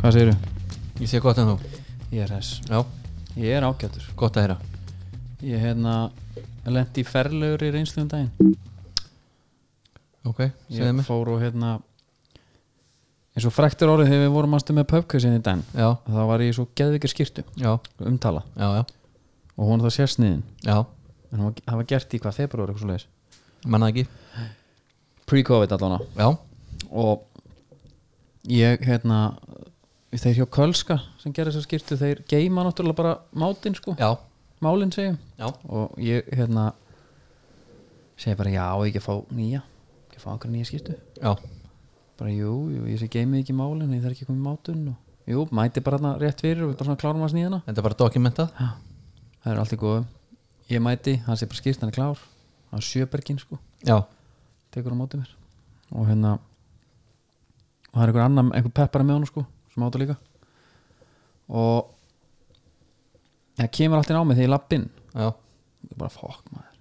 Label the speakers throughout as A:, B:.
A: Hvað segirðu?
B: Ég sé gott en þú
A: Ég er hess
B: Já,
A: Ég er ágætur
B: gott að heyra
A: Ég hérna lendi í ferlegur í reynslu um daginn
B: Ok, segðu
A: Ég
B: mér
A: fór og hérna eins og fræktur orðið þegar við vorum aðstu með pubkvæsin í daginn
B: Já,
A: þá var ég í svo geðvikið skýrtu
B: já,
A: umtala
B: já, já,
A: og hún það sér sniðin
B: já
A: en hún var- það var gert í hvað februar eitthvað svo leiðis
B: Manna ekki
A: pre-covid allan á
B: Já,
A: og ég hérna þeir hjá Kölska sem gerir þessar skýrtu þeir geima náttúrulega bara mátinn sko
B: já,
A: málinn segjum
B: já
A: og ég hérna segi bara já ég ekki að fá nýja ekki að fá okkur nýja skýrtu
B: Já,
A: bara jú, jú ég sé geimið ekki málinn ég þarf ekki að koma í mátun og jú, mæti bara þarna rétt fyrir og við bara svona klárum að sníðina
B: þetta er bara dokumentað
A: Já, það er allt í góðu ég mæti, hann sé bara skýrt, hann er klár hann er sjöbergin sko,
B: Já,
A: tekur á móti mér og hérna og það er einhver annar, einhver peppara með honum sko sem áta líka og það kemur allt inn á mig þegar ég lapp inn
B: já,
A: ég bara fokk maður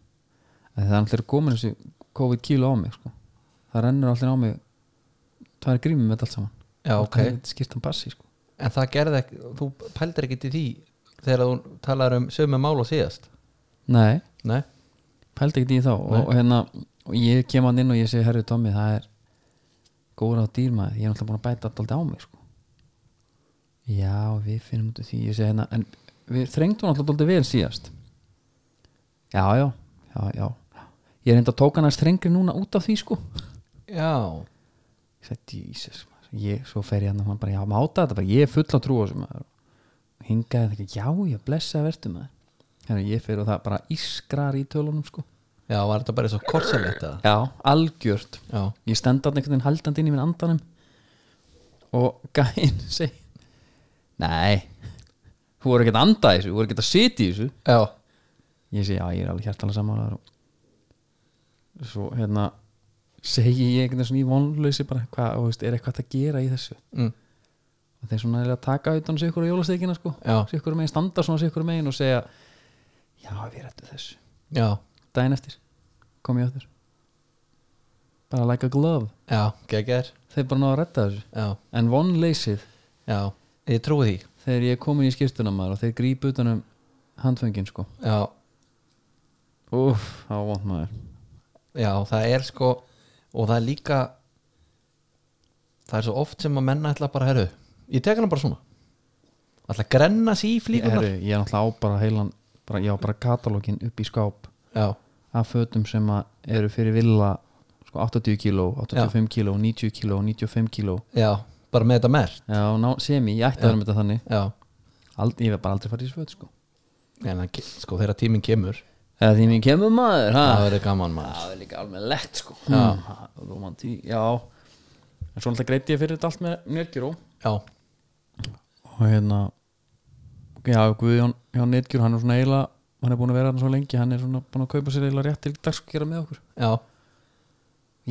A: en það er allir komin þessi COVID kíla á mig sko. það rennur allir á mig það er grímið með þetta allt saman
B: já, ok
A: skýrtan bassi sko.
B: En það gerði ekki, þú pældir ekki til því þegar þú talar um sömu mál og síðast
A: nei,
B: Nei,
A: pældi ekkert í þá og,
B: Nei.
A: og hérna, og ég kem hann inn og ég segi herri Tommy, það er góður á dýr maður, ég er alltaf búin að bæta allt á mig sko. já, við finnum út úr því, ég segi hérna en við þrengtum alltaf alltaf vel síðast já, já, já, já ég er enda að tóka hann að strengri núna út af því sko
B: já,
A: ég sagði, Jesus maður. ég, svo fer ég hann og hann bara, já, máta þetta bara, ég er full á trú á þessu maður hingaði þetta ekki, já, já, blessa vertu maður hérna, ég fer og það bara ískrar í tölunum sko,
B: já, var þetta bara svo korsalegt eða
A: já, algjört
B: Já,
A: ég stend hann einhvern veginn haldandi inn í minn andanum og gæinn segi nei þú voru ekkert að anda í þessu, þú voru ekkert að sitja í þessu
B: já,
A: ég segi, já, ég er alveg hjartalega sammálaður og svo, hérna segi ég einhvern veginn svona í vonleysi bara, hvað, þú veist, er eitthvað hægt að gera í þessu
B: mm.
A: og þeir svona er að taka utan sig ykkur á jólastekina sko,
B: já,
A: sig ykkur megin, standa svona sig ykkur megin og segja já við rættum þessu,
B: já,
A: daginn eftir kom ég öður bara like a glove,
B: já, geggjær
A: þeir bara náðu að rætta þessu
B: Já,
A: en vonleysið
B: já, ég trúi því
A: þegar ég er komin í skýrtuna maður og þeir grípa utan um handföngin sko,
B: Já,
A: uff, þá vond maður
B: Já, það er sko og það er líka það er svo oft sem að menna ætla bara, herru, ég tek hana bara svona ætla að grenna sí í
A: ég,
B: flíkunar
A: herri, ég er náttúrulega á bara heilan bara, ég á bara katalógin upp í skáp
B: Já,
A: af fötum sem að eru fyrir villa sko 80 kíló, 85 kíló 90 kíló, 95 kíló
B: já, bara með þetta mert
A: Já, ná, semi, ég ætti að vera með þetta þannig
B: Já,
A: Ald, Ég hef bara aldrei farið í svöð sko.
B: en það, ke- sko þegar tíminn kemur
A: Eða því mér kemur maður ha?
B: það verður gaman maður
A: Það er líka alveg lett sko. Já, romantí, já En svo alltaf greiti ég fyrir þetta allt með Netgjuró
B: Já,
A: Og hérna Já, Guðjón Jón Netgjur, hann er svona eiginlega Hann er búin að vera hann svo lengi Hann er svona búin að kaupa sér eiginlega rétt til dagskera með okkur
B: já,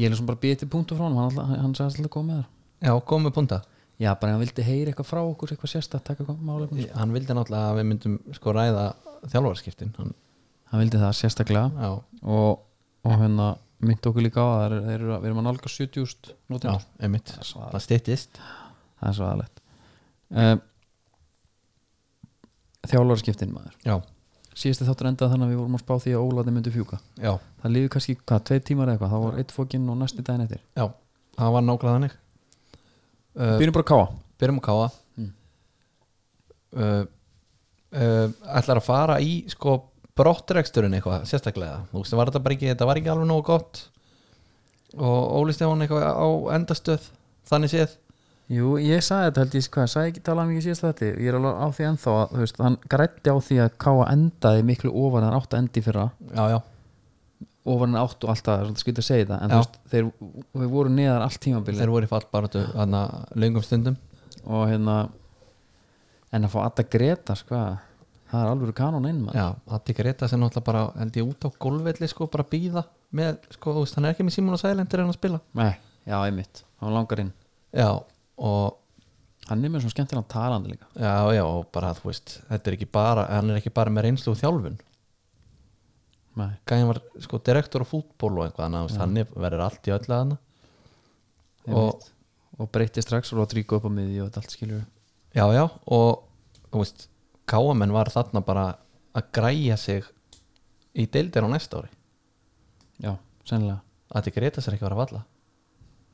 A: Ég er svona bara betið punktu frá honum Hann, alltaf- hann sagði alltaf góð með þar
B: já, komið punta
A: Já, bara hann vildi heyra eitthvað frá okkur Eitthvað sérstætt, taka eitthvað málefni
B: Ég- Hann vildi náttúrulega að við myndum sko ræða þjálfarskiptin hann,
A: Hann vildi það sérstaklega
B: Já,
A: og, og hérna myndi okkur líka á að þeir, þeir eru að við erum að nálga 70.000
B: já,
A: notendur
B: einmitt
A: Það er svaðalegt.
B: Það styttist
A: það er svo aðlegt um, þjálfarskiptin maður
B: Já,
A: síðasti þáttur endaði þannig að við vorum að spá því að Ólaði myndi fjúka
B: já,
A: það lífi kannski hvað, tvei tímar eða eitthvað þá var eitt fókinn og næsti daginn eftir
B: já, það var nákvæmlega þannig uh,
A: býnum bara að káa
B: byrjum að káa
A: Mm.
B: uh, uh, ætlar að fara í sko brottreksturinn eitthvað sérstaklega þú veist, var þetta bara ekki, þetta var ekki alveg nógu gott og Óli Stefán eitthvað á endastöð, þannig séð
A: jú, ég sagði þetta held ég hvað, sagði ekki talað mikið síðast þetta ég er alveg á því ennþá að þú veist, hann grætti á því að káa endaði miklu ofar en hann átt að endi fyrra
B: já, já,
A: ofar en átt og alltaf, skilta að segja það en
B: Já.
A: þú veist, þeir, þeir voru neðar allt tímabilið
B: þeir voru í fallbaratu hann að löngum stundum
A: og hérna en að fá Adda Gretas hvað, það er alveg kanon einn maður
B: já, Atti Greta sem náttúrulega bara held ég út á golfvelli sko, bara býða með, sko, þú veist, hann er ekki með Simon og Sælendir en að spila
A: Nei, já, einmitt, hann langar inn
B: já, og
A: hann er með svona skemmtilega talandi líka
B: já, já, og bara, þú veist þetta er ekki bara, hann er ekki bara með reynslu og þjálfun
A: Nei.
B: gæðin var sko direktor á fútból og eitthvað annað, ja. hann er- verður allt í öllu að hana og
A: og breytti strax og Rodrigo upp á miði og þetta allt skilur
B: já, já, og þú veist, káamenn var þarna bara að græja sig í deildir á næsta ári
A: já, sennilega,
B: að þetta greita sér ekki að vera valla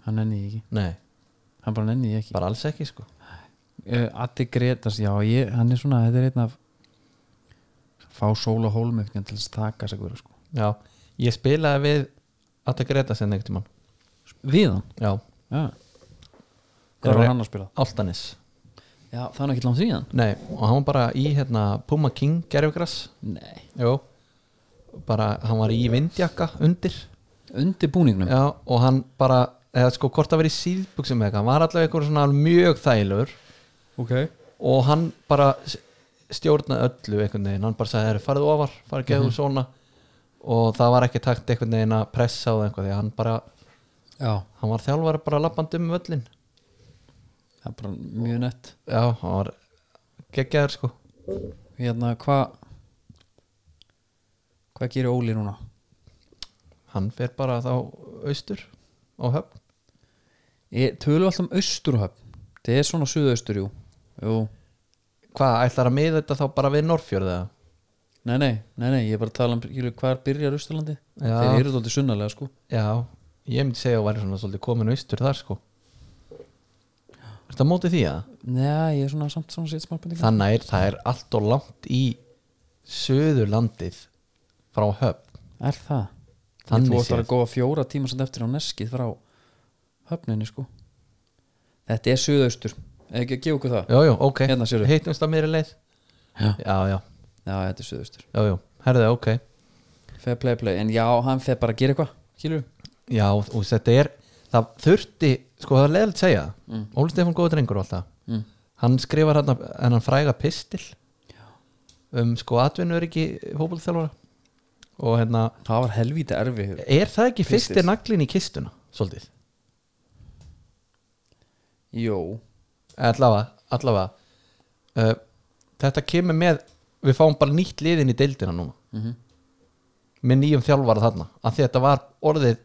A: hann nenni ég ekki
B: nei,
A: hann bara nenni ég ekki
B: bara alls ekki sko
A: uh, Addi Gretas, já, ég, hann er svona þetta er einn af fá sól og hólmögnin til að taka sig verið sko.
B: já, ég spilaði við að þetta greita sér neitt í mann
A: við hann,
B: já,
A: já hvað
B: Hvar er-
A: var hann að spila?
B: Altanis
A: já, það er ekki langt síðan
B: nei, og hann var bara í hérna Puma King gerfigras
A: nei,
B: Jó bara, hann var í vindjakka undir
A: undir búningnum
B: Já, og hann bara, eða sko hvort að vera í síðbuxum eða eitthvað, hann var allavega eitthvað svona mjög þælur
A: ok,
B: og hann bara s- stjórnaði öllu einhvern veginn, hann bara sagði, "Heyrðu, farðu ofar farðu geðu
A: Mhm.
B: svona og það var ekki takt einhvern veginn að pressa á það einhvern veginn, hann bara,
A: já,
B: hann var þjálfari bara lappandi um völlin
A: það er bara mjög nett
B: Já, hann var geggjaður sko
A: hérna, hvað hvað gerir Óli núna?
B: hann fer bara þá austur á höfn
A: Ég tölum alltaf um austurhöfn þetta er svona suðaustur, jú jú,
B: Hvað, ætlar að miða þetta þá bara við Norrfjörð eða?
A: nei, nei, nei, nei ég er bara að tala um skilur, hvar byrjar austurlandi
B: Já.
A: þeir eru þóttið sunnalega, sko
B: Já, ég myndi segja að væri svona svolítið komin austur þar sko Er þetta mótið því að?
A: Nei, ég er svona samt svona sétt smábendingar
B: Þannig er það er allt og langt í söðurlandið frá höfn
A: Er það?
B: Þannig
A: Þannig þú ætlar
B: séð.
A: að góða fjóra tíma sem eftir á neskið frá höfninni sko Þetta er suðaustur Eða ekki að gefa okkur það?
B: Jú, jú, ok,
A: Hérna sérðu.
B: hittumst að mér er leið
A: Já,
B: Já, já,
A: já þetta er suðaustur
B: já, já, herðu, ok
A: Fair play play, en já, hann fer bara að gera eitthvað Kýlur?
B: Já, og þetta er, það þurfti sko það er leiðilegt að segja,
A: Mm.
B: Óli Stefán góður drengur og alltaf,
A: Mm.
B: hann skrifar hann, hann fræga pistil um sko atvinnur ekki fótbolþjálfara og hérna
A: Það var helvíti erfi
B: Er það ekki
A: Pistil.
B: fyrsti naglin í kistuna? Svolítið
A: Jó,
B: Allavega, allavega. Uh, Þetta kemur með Við fáum bara nýtt liðin í deildina núna
A: Mhm.
B: Með nýjum þjálfara þarna Af því að þetta var orðið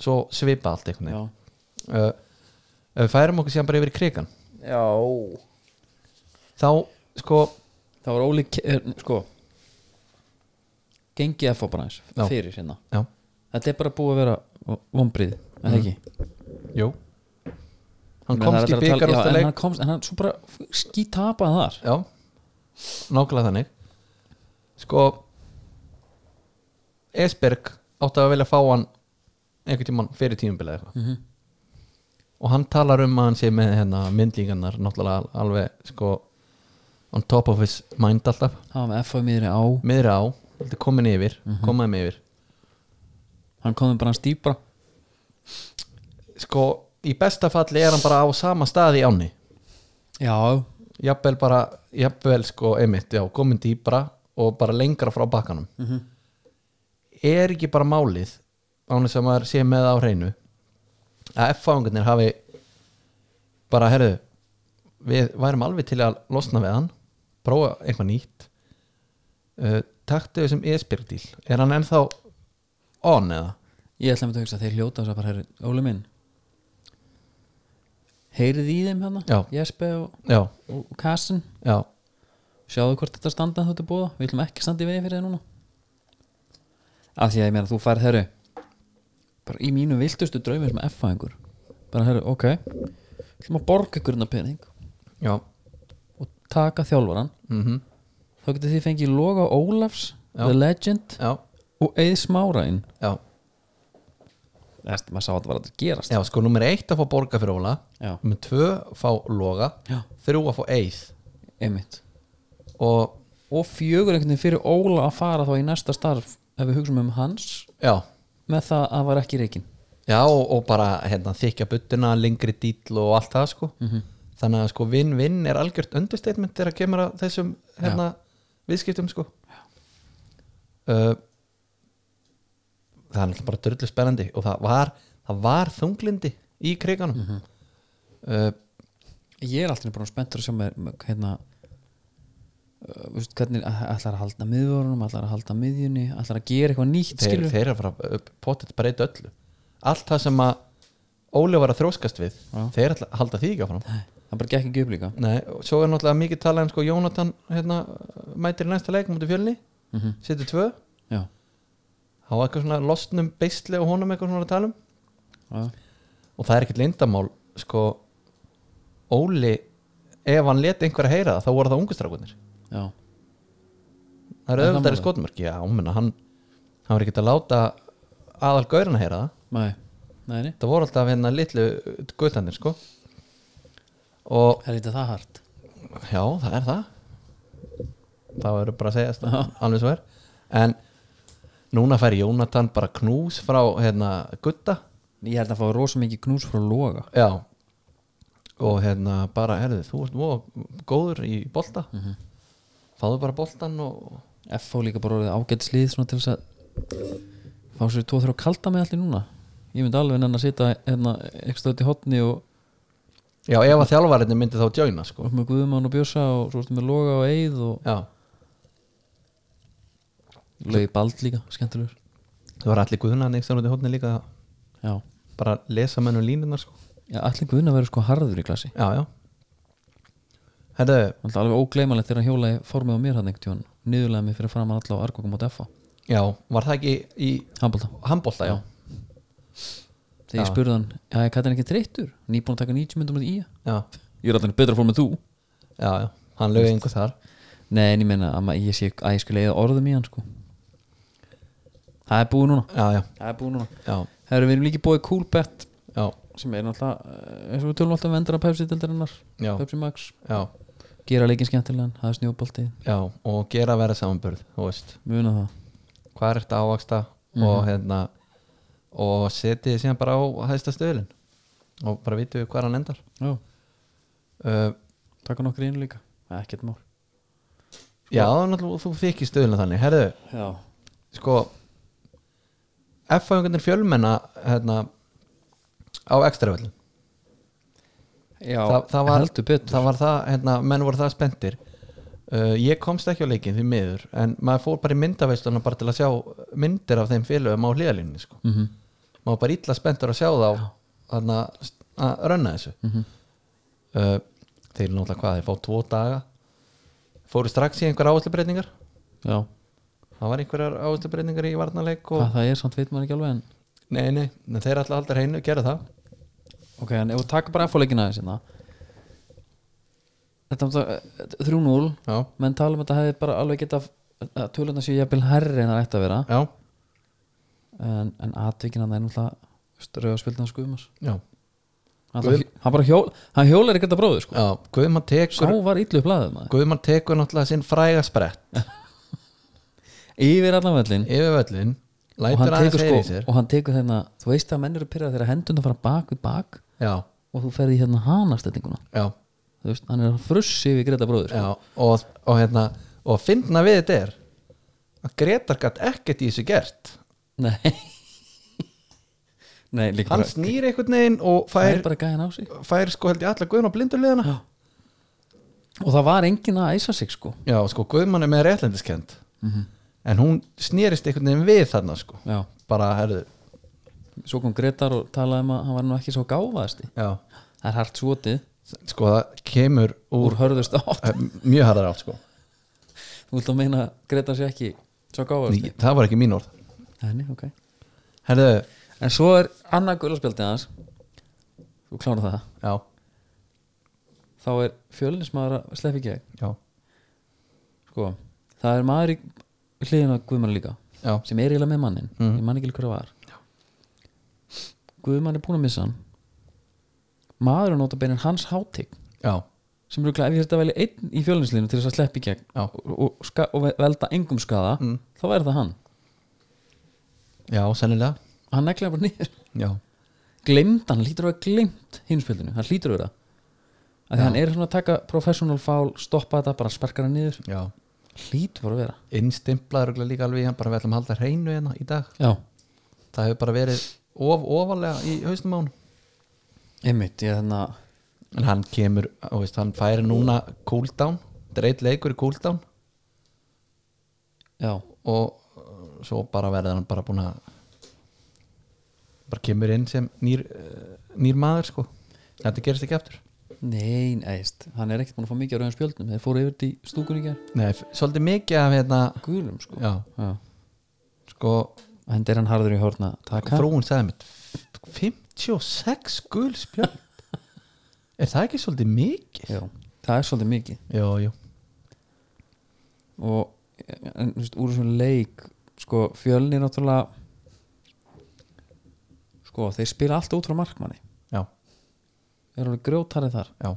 B: Svo svipa allt einhvern
A: já
B: veginn uh, Ef við færum okkur síðan bara yfir í krigan
A: Já
B: Þá sko
A: Það var ólík, er, sko Gengi F bara eins
B: Já.
A: Fyrir hérna
B: Já,
A: Þetta er bara búið að vera vombrið En það ekki
B: jú Hann
A: Menn
B: komst
A: það
B: í
A: er hægt að tala- já, en
B: byggarústaleg
A: hann komst, en hann svo bara skítapaði þar
B: Já, nákvæmlega þannig Sko Esberg átti að vilja fá hann einhvern tímann fyrir tímubilið eitthvað
A: Mhm.
B: og hann talar um að hann sé með hérna, myndlíkannar náttúrulega al- alveg sko on top of his mind alltaf
A: það var með F.A. miðri á
B: miðri á, þetta komin yfir mm -hmm. komaði með yfir
A: hann komði bara hans dýpra
B: sko í besta falli er hann bara á sama staði í áni
A: já,
B: jafnvel bara, jafnvel sko einmitt, já, komin dýbra og bara lengra frá bakkanum
A: Mhm.
B: er ekki bara málið án þess að maður sé með það á hreinu að F-fáingarnir hafi bara, herðu við værum alveg til að losna við hann prófa eitthvað nýtt uh, taktu þessum Esbjörg díl er hann ennþá on eða?
A: ég ætla að mynda að hugsa þeir hljóta þess að bara herri, Óli minn heyrið í þeim hérna
B: Já.
A: Jespe og,
B: Já,
A: og Kassin
B: já,
A: sjáðu hvort þetta standa þetta búða við viljum ekki standa í vegi fyrir þeir núna af því að ég meina þú færð herri bara í mínu viltustu draumir sem F.A. einhver bara herri, ok ætlum að borga ykkur hérna pening
B: já
A: og taka þjálfaran
B: mm
A: þá getur þið fengið Loga Ólafs
B: Já.
A: The Legend
B: já,
A: og Eið Smárain
B: já,
A: Æst, maður sá að þetta var að þetta gerast
B: já, sko nummer eitt að fá borga fyrir Óla
A: já,
B: með tvö fá loga
A: já
B: þrjú að fá eið
A: einmitt
B: og
A: og fjögur einhvern veginn fyrir Óla að fara þá í næsta starf ef við hugsaum um hans
B: já,
A: með það að var ekki reikin
B: já og, og bara hérna, þykja buttuna, lengri dýll og allt það sko
A: Mhm.
B: þannig að sko vinn-vinn er algjört understatement þegar kemur að þessum hérna, viðskiptum sko uh, það er náttúrulega bara drullu spennandi og það var, það var þunglindi í kriganum uh,
A: ég er alltaf bara spenntur að sjá með hérna uh, veist, hvernig ætlar að halda miðvörunum ætlar að halda miðjunni, ætlar að gera eitthvað nýtt
B: þeir,
A: skilur
B: þeir eru að fara potið breyta öllu allt það sem að Óli var að þróskast við
A: Já.
B: þeir ætla að halda því ekki áfram
A: Nei, það hann bara gekk ekki upp líka
B: Nei, og svo er náttúrulega mikið talað um sko Jónatan hérna, mætir í næsta leik mútið fjölni,
A: mm
B: setur tvö
A: já,
B: þá var eitthvað svona losnum beisli og honum eitthvað svona að tala um
A: já,
B: og það er ekkert lindamál sko Óli ef hann leti einhver að heyra það þá voru það ungustrákunir
A: já,
B: það
A: Er
B: eru
A: það
B: auðvitað
A: málið?
B: í skotmörk já, menna, hann, hann var ekkert að láta aðal gaurin að heyra það
A: nei nei, nei,
B: það voru alltaf hérna litlu guttanir sko og
A: það er eitthvað það hart
B: já, það er það það verður bara að segja það alveg svo er en núna fær Jónatan bara knús frá hérna gutta
A: ég held að fá rosa mikið knús frá loga
B: Já og hérna bara, herðu, þú ert mjög góður í bolta fáðu bara boltan og
A: F.O. líka bara orðið ágætslið svona til þess að fá sér tvo þrjá kalda með allir núna ég myndi alveg nenn að sitja hérna ekki stöðt í hotni og
B: já, ef að þjálfarinni myndi þá djögna sko.
A: og með Guðmann og Bjössa og svo ertu með Loga og Eið og
B: já,
A: Laugi Bald líka, skemmtilegur
B: það var allir guðunan ekki þannig hóðni líka
A: já,
B: bara lesa menn um línunar sko.
A: já allir Guðmann verður sko harður í klassi
B: já, já herðu,
A: Það er alveg ógleymanlegt þegar hann hjólaði formið á mér hann einhvern tjón niðurlega mig fyrir framan alla á Argóka mót FA
B: já, var það ekki í
A: handbólta,
B: handbólta, já
A: þegar ég
B: Já.
A: spurði hann já, ég kallar hann ekki þreyttur, nýbúin að taka 90 myndum í ég
B: já,
A: er allir betra fór með þú
B: já, já, hann lögði einhver þar
A: Nei, en ég meina að ma- ég sé að ég skulle eða orðum í hann sko Það er búið núna
B: já, já,
A: Það er búið núna
B: já,
A: Herru, við erum líka búið cool bet
B: já,
A: sem er náttúrulega, eh, eins og við tölum alltaf vendara Pepsi-dildarinnar,
B: já,
A: Pepsi Max
B: já,
A: gera leikin skemmtilegan, hafa snjóbolti
B: já og gera vera samanburð, þú veist
A: muna það
B: hvað er þetta ávaksta og hérna og setið þið síðan bara á hæsta stöðlin og bara vitum við hvað hann endar
A: já.
B: uh,
A: taka nokkur inn líka, ekkert mál
B: já, náttúrulega þú fikk í stöðlina þannig herðu,
A: já,
B: sko F-fæðingarnir fjölmenna hérna á ekstravöllin
A: já
B: Þa- það var-
A: heldur betur
B: það var það, hérna, menn voru það spenntir uh, ég komst ekki á leikinn því miður en maður fór bara í myndaveisluna bara til að sjá myndir af þeim félögum á hliðalínni sko.
A: mm
B: maður var bara illa spenntur að sjá þá þarna, að rönna þessu
A: Mhm.
B: uh, þeir náttúrulega hvað, þeir fá tvo daga fóru strax í einhver áherslubreytingar
A: já,
B: það var einhverjar áherslubreytingar í varnarleik og...
A: hvað það er samt veit maður ekki alveg en
B: nei, nei, nei, þeir alltaf aldrei hreinu, gera það
A: ok, en ef við taka bara F-leikina aðeins hérna þetta var það 3-0
B: já,
A: menn tala um að þetta hefði bara alveg geta að töluna séu jafnvel herri en það ætti að vera
B: já,
A: en, en atvikina það er náttúrulega rauða spildan skumas
B: já,
A: hann, Guð... hann bara hjól, hann hjólar ekki þetta bróðu sko.
B: já. Guðmann
A: sá
B: tekur
A: var illu blaðið maður
B: Guðmann tekur náttúrulega sinn fræga sprett
A: yfir allan vellin
B: yfir völlin,
A: og hann
B: lætur aðeins
A: tekur
B: heyri
A: sko,
B: í sér
A: og hann tekur þeirna þú veist að menn eru pyrrað þegar hendurna fara bak við bak
B: já,
A: og þú ferði hérna hanastellinguna
B: já,
A: þú veist, hann er frussi við Greta bróður
B: já og, og hérna, og finna við þetta er að Gretar gætt ekkert í þessu gert
A: nei nei, líka
B: hann
A: bara
B: snýr einhvern veginn og
A: það er
B: fær,
A: bara gæðin á sig
B: fær sko held ég allar Guðmann blindurliðina já
A: og það var enginn að æsa sig sko
B: Já, sko, Guðmann er með réttlendiskend
A: Mhm.
B: en hún snýrist einhvern veginn við þarna, sko
A: já.
B: bara, herðu,
A: svo kom Gretar og talaði um að hann var nú ekki svo gáfaðasti
B: já
A: það er hart svotið
B: sko, það kemur úr
A: úr hörðust átt
B: eh, mjög harðar átt, sko
A: þú vilt að meina að Gretar sé ekki svo gáfaðasti
B: Ný, það var ekki mín orð
A: Nei, ok
B: herðu,
A: en svo er annað gulaspjaldið hans þú klárar það
B: já,
A: þá er fjölinsmaður að sleppa í gegn
B: já,
A: sko, það er maður í hliðina á Guðmann líka
B: já
A: sem er eiginlega með mannin,
B: Mhm.
A: ég man ekki alveg hver það var Guðmann er búin að missa hann maður er nota beinin hans hátig
B: já,
A: sem eru glæði, ef ég þetta veli einn í fjölinsliðinu til þess að sleppa í gegn
B: já,
A: og, og, ska, og ve- velda engum skada
B: Mm.
A: þá væri það hann,
B: já, sennilega
A: hann neglaði bara niður
B: já,
A: glemt, hann lítur að hafa glemt hinspildinu, hann lítur að vera að því hann er svona að taka professional foul stoppa þetta, bara sparkar hann niður
B: já
A: lítur bara að vera
B: innstimplaður örugglega líka alveg í hann bara við ætlum að halda hreinu hérna í dag
A: já,
B: það hefur bara verið of, ofalega í haustum á hann
A: einmitt, ég hérna, þannig að
B: en hann kemur, þú veist, hann færi núna cooldown, þetta er eitt leikur í cooldown
A: já,
B: og uh, svo bara verður hann bara búin að bara kemur inn sem nýr, uh, nýr maður sko þetta gerist ekki eftir
A: Nei, neðist, hann er ekkert búin að fá mikið á rauðan spjöldnum Þeir fóru yfir til stúkunni í gær
B: Nei, f- svolítið mikið af hérna
A: Gulum sko
B: Já,
A: Já.
B: sko,
A: En er hann harður í hórna taka
B: frúin sagði mitt 56 gul spjöld Er það ekki svolítið mikið?
A: Já, það er svolítið mikið
B: Jó, jó
A: Og en, þú veist, úr þessum leik Sko, fjölnir náttúrulega Sko, þeir spila allt út frá markmanni
B: Já,
A: Þeir eru alveg grjótarið þar
B: já,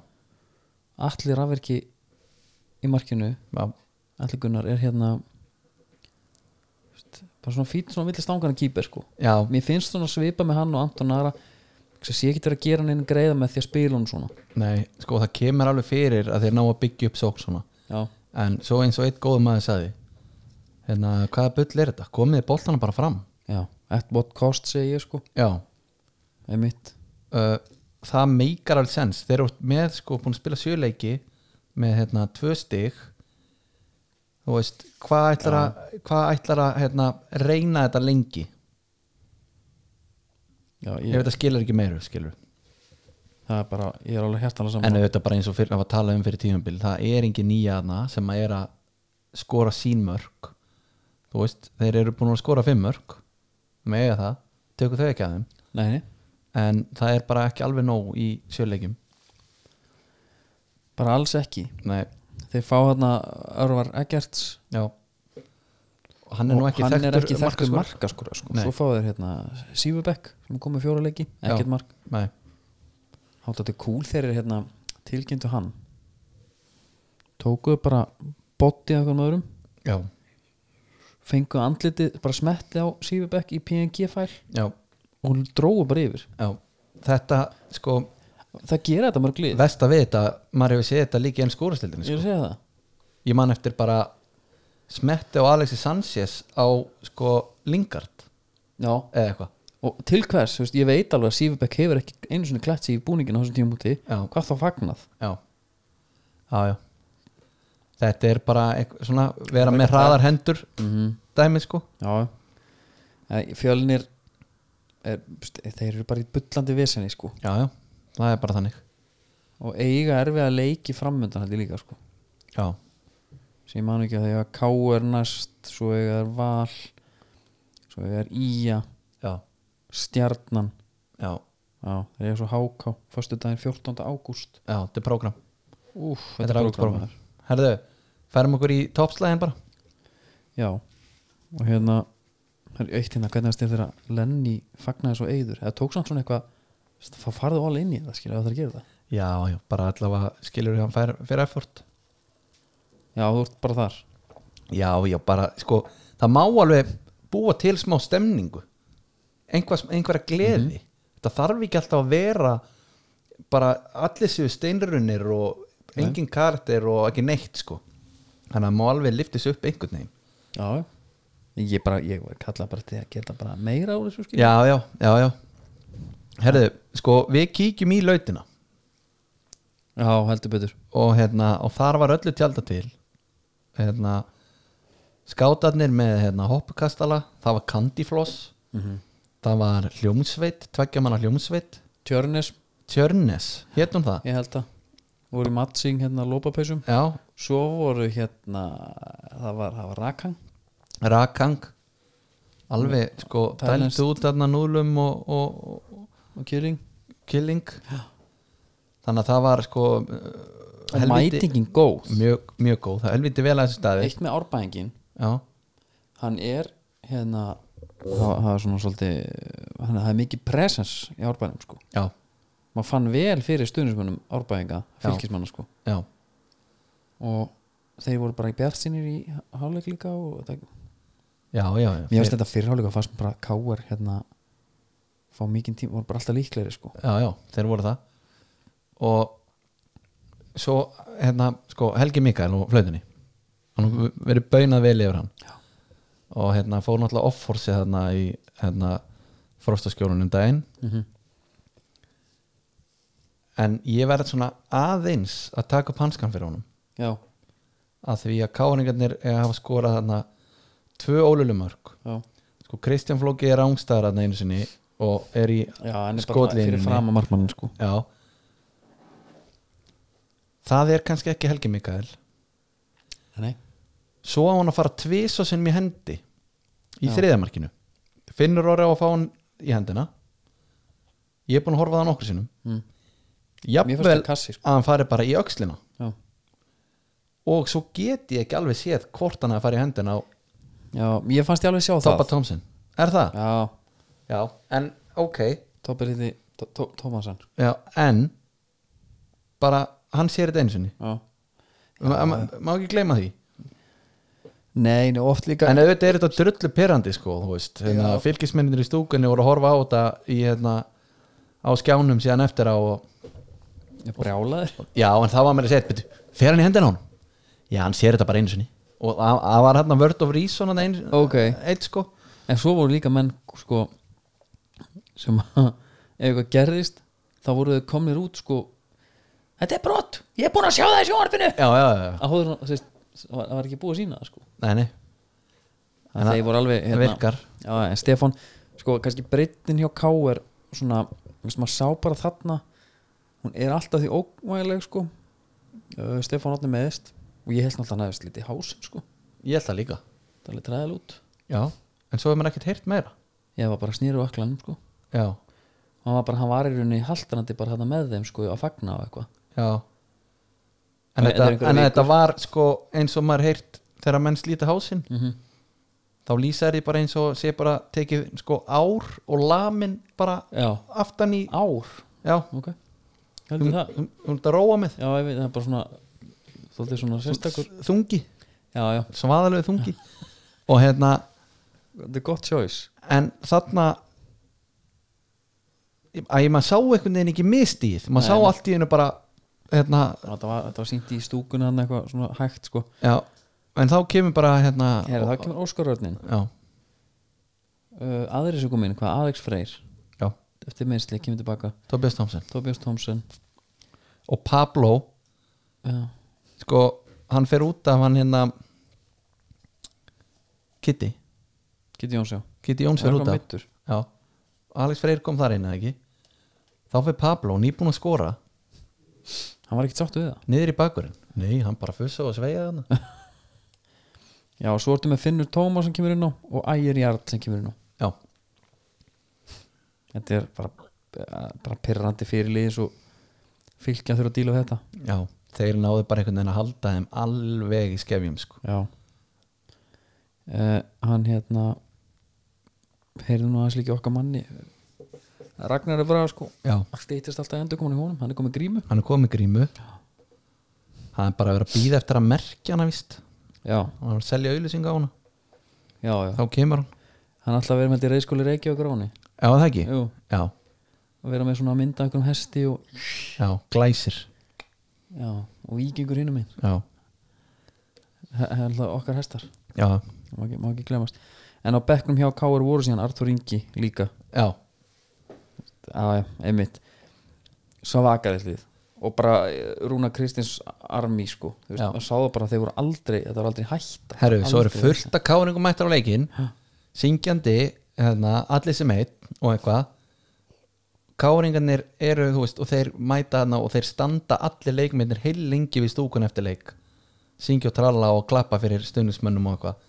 A: Allir rafverki í markinu
B: já,
A: Allir Gunnar er hérna þú veist, Bara svona fýtt svona villist ángana kýper sko
B: já,
A: Mér finnst svona svipa með hann og Anton Ara Þess að ég geti verið að gera hann einu greiða með því að spila hann svona
B: nei, sko það kemur alveg fyrir að þeir ná að byggja upp sók svona
A: Já,
B: En svo eins og eitt góð maður sagði Hérna, hvaða bull er þetta? Komið boltana bara fram
A: já, at what cost segi ég sko
B: Já,
A: Einmitt
B: uh, það meikar alveg sens þeir eru með sko búin að spila sjöleiki með hérna tvö stig þú veist hvað ætlar að, hvað ætlar að hérna, reyna þetta lengi
A: Já,
B: ég veit að skilur ekki meiru skilur
A: það er bara, ég er alveg hjartanlega
B: en
A: saman
B: auðvitað bara eins og fyrir að tala um fyrir tímumbil það er engin nýja aðna sem að er að skora sín mörg þú veist, þeir eru búin að skora fimm mörg með það, tökur þau ekki að þeim
A: Nei, nei,
B: en það er bara ekki alveg nóg í sjöleikim
A: bara alls ekki
B: nei,
A: Þeir fá þarna Örvar Eggerts
B: já og hann er nú ekki
A: og hann er
B: þekktur
A: ekki þekktur
B: markaskorari.
A: markaskora sko.
B: Nei.
A: Svo fá þeir hérna Sýfubekk sem kom með fjóra leiki,
B: Já.
A: ekkert mark
B: Nei,
A: Hátt að þetta er cool þeir eru hérna tilkynntu hann Tókuðu bara botti að einhvern öðrum
B: já,
A: fenguðu andlitið, bara smetti á Sýfubekk í PNG-fæl
B: já,
A: og dróðu bara yfir
B: já Þetta, sko,
A: Það gera þetta mörg lið,
B: vest að við þetta maður hefur séð þetta líka í enn skórastildinni
A: ég er
B: sko.
A: að segja það
B: Ég man eftir bara smetti á Alexi Sanchez á, sko, Lingard
A: Já,
B: eða eitthvað
A: og til hvers, þú veist, ég veit alveg að Sýfubekk hefur ekki einu svona klætt sig í búningin á þessum tímúti
B: Já,
A: hvað þá fagnað
B: já, já, já Þetta er bara eitthvað, svona, vera með hraðar hendur
A: mm -hmm.
B: dæmi, sko
A: Já Eh, Fjölnir er, st- þeir eru bara í bullandi veseni sko
B: Já, já, það er bara þannig
A: og eiga erfið að leiki framöndan held ég líka sko
B: Já,
A: sem ég man ekki að þegar K.R. næst svo eiga er Val svo eiga er Ía,
B: já,
A: Stjarnan
B: já,
A: Já, þeir eru svo háká, föstu daginn 14. ágúst
B: já, þetta er prógram
A: Úf,
B: Þetta er ágætt prógram Herðu, færum okkur í toppslæðin bara
A: Já, og hérna það er eitt hérna, hvernig það styrir þeirra Lenny fagnaði svo eiður, það tók samt svona eitthvað það farðu all inn í það skilja það er að gera það
B: Já, já, bara allavega skilur við hann fær, fyrir effort
A: Já, þú ert bara þar
B: Já, já, bara, sko það má alveg búa til smá stemningu Einhvers, einhverja gleði þetta þarf ekki alltaf að vera bara allir séu steinrunir og engin karakter og ekki neitt, sko þannig að má alveg liftis upp einhvern veginn
A: Já, ég bara, ég kalla bara til að geta bara meira á þessu skil
B: Já, já, já, já Herðu, sko, við kíkjum í lautina
A: Já, heldur betur
B: og, hérna, og þar var öllu tjálta til hérna, skátarnir með hérna, hoppukastala það var Candyfloss
A: Mhm.
B: það var hljómsveit, tveggja manna hljómsveit
A: Tjörnes,
B: Tjörnes, hétt hún það
A: ég held að voru mattsing hérna lópapeysum
B: já,
A: svo voru hérna það var, það var Rakang
B: Rakang alveg sko
A: Thailand.
B: dældu út þarna núlum og, og, og
A: og Kjöring
B: killing þannig að það var sko
A: og mætingin góð
B: mjög, mjög góð, það helviti vel að þessu staði
A: eitt með árbæðingin,
B: já,
A: hann er hérna það, það er svona svolítið hann, það er mikið presens í árbæðingum sko
B: já,
A: maður fann vel fyrir stuðnismunum árbæðinga
B: Já.
A: fylgismanna sko
B: já
A: og þeir voru bara í bjartsinir í hálfleik líka og það
B: já, já, já,
A: Mér finnst þetta fyrirháleika fannst mér bara káar hérna fá mikinn tíma, voru bara alltaf líklegri sko
B: já, já, þeir voru það og svo hérna, sko, Helgi Mikael og flautinni hann hefur verið baunað vel yfir hann já. og hérna fór náttúrulega off-force hérna í hérna frostaskjólunum daginn
A: mm -hmm.
B: en ég verði svona aðeins að taka upp hanskan fyrir honum
A: Já,
B: að því að káningarnir eiga að hafa skorað þarna tvö ólulumörk
A: já,
B: sko Kristján Flóki er ángstæðar þarna einu sinni og er í
A: já, en er bara
B: Skotlínunni.
A: fyrir fram að markmannin sko
B: Já það er kannski ekki Helgi Mikael
A: Nei,
B: svo á hann að fara tvisa sem í hendi í
A: Já.
B: þriðamarkinu finnur orðið á að fá hann í hendina ég er búin að horfa á það nokkur sinnum
A: mm. mér fannst
B: jafnvel
A: það kassi sko.
B: að hann fari bara í öxlina
A: já.
B: og svo get ég ekki alveg séð hvort hann að fara í hendina á
A: já, ég fannst ég alveg sjá
B: Toppa
A: það
B: Thompson er það?
A: Já, hérna
B: Já, en ok
A: Toppa hitti Tómasan
B: Já, en bara hann sér þetta einu sinni
A: Já
B: Ma- ma- má ekki gleyma því
A: Nei, nei, oft líka
B: en auðvitað er þetta drullu perandi sko þú veist, hérna,
A: Já.
B: fylgismennir í stúkunni voru að horfa á þetta í, hérna, á skjánum síðan eftir á og,
A: Ég brjálaður
B: já, en það var mér að segja betur, fer hann í hendina á hann? já, hann sér þetta bara einu sinni og það það var hérna Word of Reason þarna einu,
A: Ok.
B: eitt sko
A: En svo voru líka menn sko sem að ef eitthvað gerðist þá voru þau komnir út sko Þetta er brott, ég er búin að sjá það í sjónvarpinu
B: já, já, já, já.
A: að hóður hún, sérst, það var- það var ekki búið að sína það sko
B: Nei, nei. En
A: en þeir voru alveg hérna,
B: virkar.
A: já, en Stefán, sko, kannski breytin hjá K er svona, þú veist, maður sá bara þarna hún er alltaf því óvægileg sko uh, Stefán átni meðist og ég held náttúrulega hann aðeins lítið hásin sko
B: ég held það líka
A: það er alveg træðil út
B: já. en svo hefur maður ekkert heyrt meira
A: ég var bara snýru öklanum sko
B: já,
A: hann var bara, hann var í rauninni haldanandi bara hérna með þeim sko að fagna og eitthvað
B: já
A: En
B: en,
A: þetta er
B: þetta,
A: einhverjar
B: en
A: vikur.
B: þetta var sko eins og maður heyrt þegar menn slíti hásinn
A: mm
B: þá lýsa þér því bara eins og sé bara tekið sko ár og lamin bara
A: já,
B: aftan í
A: ár
B: já,
A: ok, heldur það
B: hún hún ert að róa með
A: já, ég veit, það er bara svona þóttið svona sérstakur
B: þungi,
A: já, já,
B: svaðalegu þungi og hérna,
A: þetta er gott choice
B: en þarna að ég maður sá einhvern veginn ekki mistíð
A: Nei, nei.
B: maður sá allt í hennu bara hérna,
A: þetta var, þetta var sýnt í stúkunni hann eitthvað svona hægt sko
B: já en þá kemur bara hérna
A: Herra, það kemur Óskarörnin
B: já,
A: uh, aðri sem kom inn, hvað Alex Freyr
B: já,
A: eftir minnsli, kemur tilbaka
B: Tobias Thompson
A: Tobias Thompson
B: og Pablo
A: já,
B: sko, hann fer út af hann hérna Kitty,
A: Kitty Jónsjá
B: Kitty Jóns fer út af
A: mittur
B: já, Alex Freyr kom þar inn eða ekki þá fer Pablo, nýbúin að skora
A: hann var ekkert sáttu við það
B: niður í bakurinn, nei, hann bara fussa og sveiga hann
A: já, og svo ertu með Finnur Tómas sem kemur inn á og Ægir Jarl sem kemur inn á
B: já,
A: þetta er bara, eh, bara pyrrandi fyrirlið svo fylgja þurfa að díla við þetta
B: já, þeir náðu bara einhvern veginn að halda þeim alveg í skefjum sko.
A: já uh, hann hérna heyrðu nú aðeins líka í okkar manni Ragnar er bara sko
B: já,
A: stýttist alltaf endur komin í honum, hann er komið grímu
B: hann er komið grímu hann er bara að vera að býða eftir að merkja hana vist,
A: já,
B: hann er að selja auðlýsing á hana,
A: já, já
B: þá kemur hann
A: hann er alltaf að vera með þetta í reyðskóli reiki og gráni
B: já, það ekki,
A: Jú,
B: já,
A: að vera með svona að mynda einhverjum hesti og,
B: já, glæsir
A: já, og ígengur hinnum minn
B: já,
A: það er alltaf okkar hestar,
B: já,
A: má ekki, má ekki glemast en á bekknum hjá K.R. voru síðan Arthur Ingi líka,
B: já
A: aðja, einmitt svo vakariðlið og bara eh, Rúna Kristins armi sko, þú veist,
B: Já.
A: maður sá það bara að þeir voru aldrei þetta var aldrei hætt
B: Herru, svo eru
A: Aldrei
B: fullt að káringum mættar á leikin
A: Ha.
B: syngjandi, hérna, allir sem eitt og eitthvað káringarnir eru, þú veist, og þeir mæta hana og þeir standa allir leikmennir heil lengi við stúkun eftir leik syngja og tralla og klappa fyrir stundismönnum og eitthvað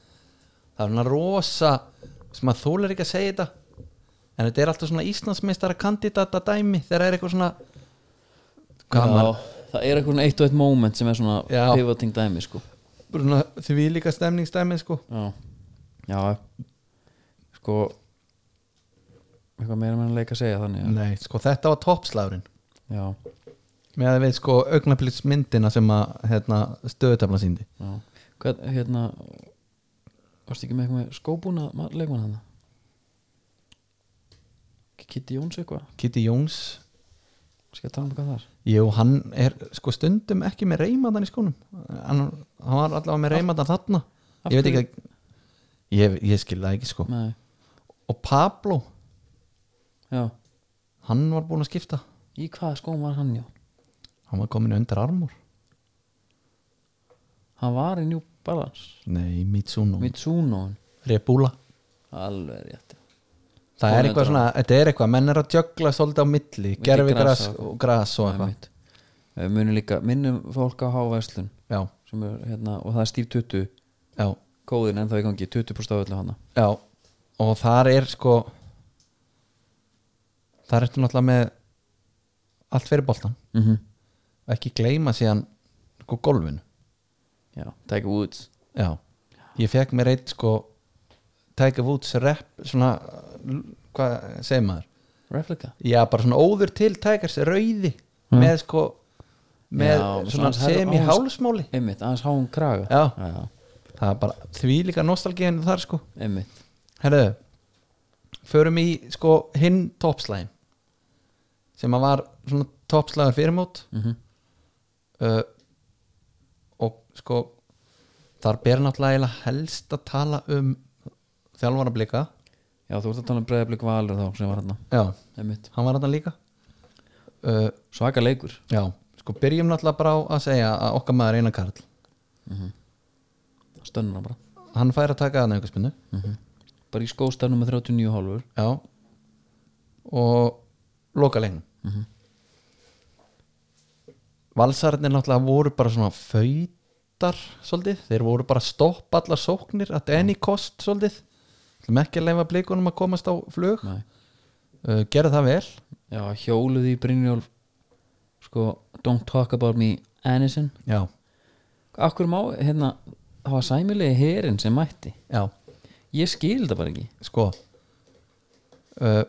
B: það er svona rosa sem að þólar ekki að segja þetta en þetta er alltaf svona Íslandsmeistara kandidata dæmi þegar er eitthvað svona
A: já,
B: gaman,
A: það er einhvern eitt og eitt moment sem er svona
B: Já.
A: pivoting dæmi sko
B: svona því líka stemningsdæmi sko
A: Já, já Sko Eitthvað meira meðan leik að segja þannig að-
B: Nei, sko þetta var toppslagurinn
A: Já,
B: með að við sko augnablitsmyndina sem að hérna, stöðutafla síndi
A: já Hvað, hérna Varstu ekki með eitthvað með skóbúna ma- leikmann hann Kitty Jóns eitthvað
B: Kitty Jóns,
A: Skal ég tala um hvað það er
B: jú hann er sko stundum ekki með reymaðan í skónum hann, hann var allavega með reymaðan þarna
A: Af
B: ég veit
A: hverju?
B: ekki að ég, ég skil það ekki sko
A: Nei,
B: og Pablo,
A: já
B: hann var búinn að skipta
A: Í hvaða skóm var hann já
B: hann var komin í undir armur
A: Hann var í New Balance
B: nei, Mitsuno,
A: Mitsuno
B: Rebula
A: Alveg rétt
B: það
A: Kominn
B: er eitthvað
A: undir
B: svona, þetta er eitthvað menn er að jögla svolítið á milli,
A: Milli
B: gerfi
A: gras
B: gras
A: og-
B: og gras og
A: Nei,
B: eitthvað
A: mitt. Eh, munum líka, minnum fólk á háverslun
B: já,
A: sem er hérna, og það er stíf 20
B: já,
A: kóðin ennþá í gangi, 20% af öllu hana
B: já og þar er sko þar ertu náttúrulega með allt fyrir boltan
A: mm -hmm.
B: ekki gleyma síðan sko golfinu
A: já, Tiger Woods
B: já, ég fekk mér eitt sko Tiger Woods rep svona, hvað segir maður
A: replika
B: já, bara svona óður til Tigers rauði með sko með
A: Já, með
B: svona
A: svona hans-
B: sem í
A: hans-
B: hálsmáli
A: einmitt, aðeins háum kraga
B: Já.
A: já
B: það er bara því líka nostalgíðinu þar sko
A: einmitt,
B: herðu, förum í sko hinn toppslæðin sem að var svona toppslæðar fyrirmót
A: mm
B: uh, og sko þar ber náttúrulega eiginlega helst að tala um þjálfara blika
A: já, þú ert að tala um breyðablik valur þá sem var hérna,
B: já,
A: einmitt
B: hann var þetta líka uh,
A: svaka leikur,
B: já, sko byrjum náttúrulega bara á að segja að okkar maður Einar Karl
A: stönnur hann bara
B: hann fær að taka þarna einhver spinnu
A: bara í skóstafnum með 39 hálfur
B: já og loka leiknum valsararnir náttúrulega voru bara svona fautar svolítið, þeir voru bara að stoppa allar sóknir að any cost svolítið ætlum ekki að leifa blikunum að komast á flug
A: Nei.
B: uh, gera það vel
A: já, hjóluð í Brynjólf sko, don't talk about me Anison,
B: já,
A: akkur má hérna, það var sæmilegi herin sem mætti
B: já,
A: ég skil þetta bara ekki
B: sko uh,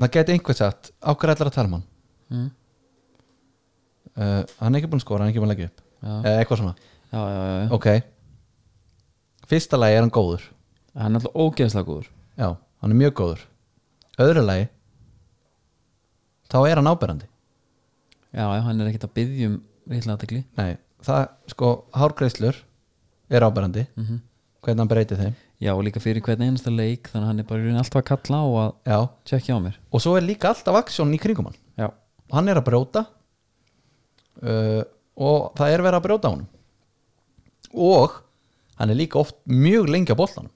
B: það geti einhvern sagt á hverju ætlar að tala mann
A: mm.
B: uh, hann er ekki búinn að skora, hann er ekki búinn að leggja upp
A: já.
B: eða eitthvað svona,
A: já, já, já, já.
B: ok fyrsta lagi er hann góður
A: hann er alltaf ógeðslega góður
B: já, hann er mjög góður öðru lagi þá er hann áberandi
A: já, já, hann er ekkert að byggja um reyðlega aðtekli
B: nei, það, sko, hárgreislur er áberandi
A: Mhm.
B: hvernig hann breytir þeim
A: já, og líka fyrir hvern einasta leik þannig að hann er bara í rauninni alltaf að kalla og að
B: já,
A: tjekkja á mér
B: og svo er líka alltaf aksjón í kringum hann
A: já,
B: hann er að brjóta uh, og það er verið að brjóta á hann og hann er líka oft mjög lengi á boltanum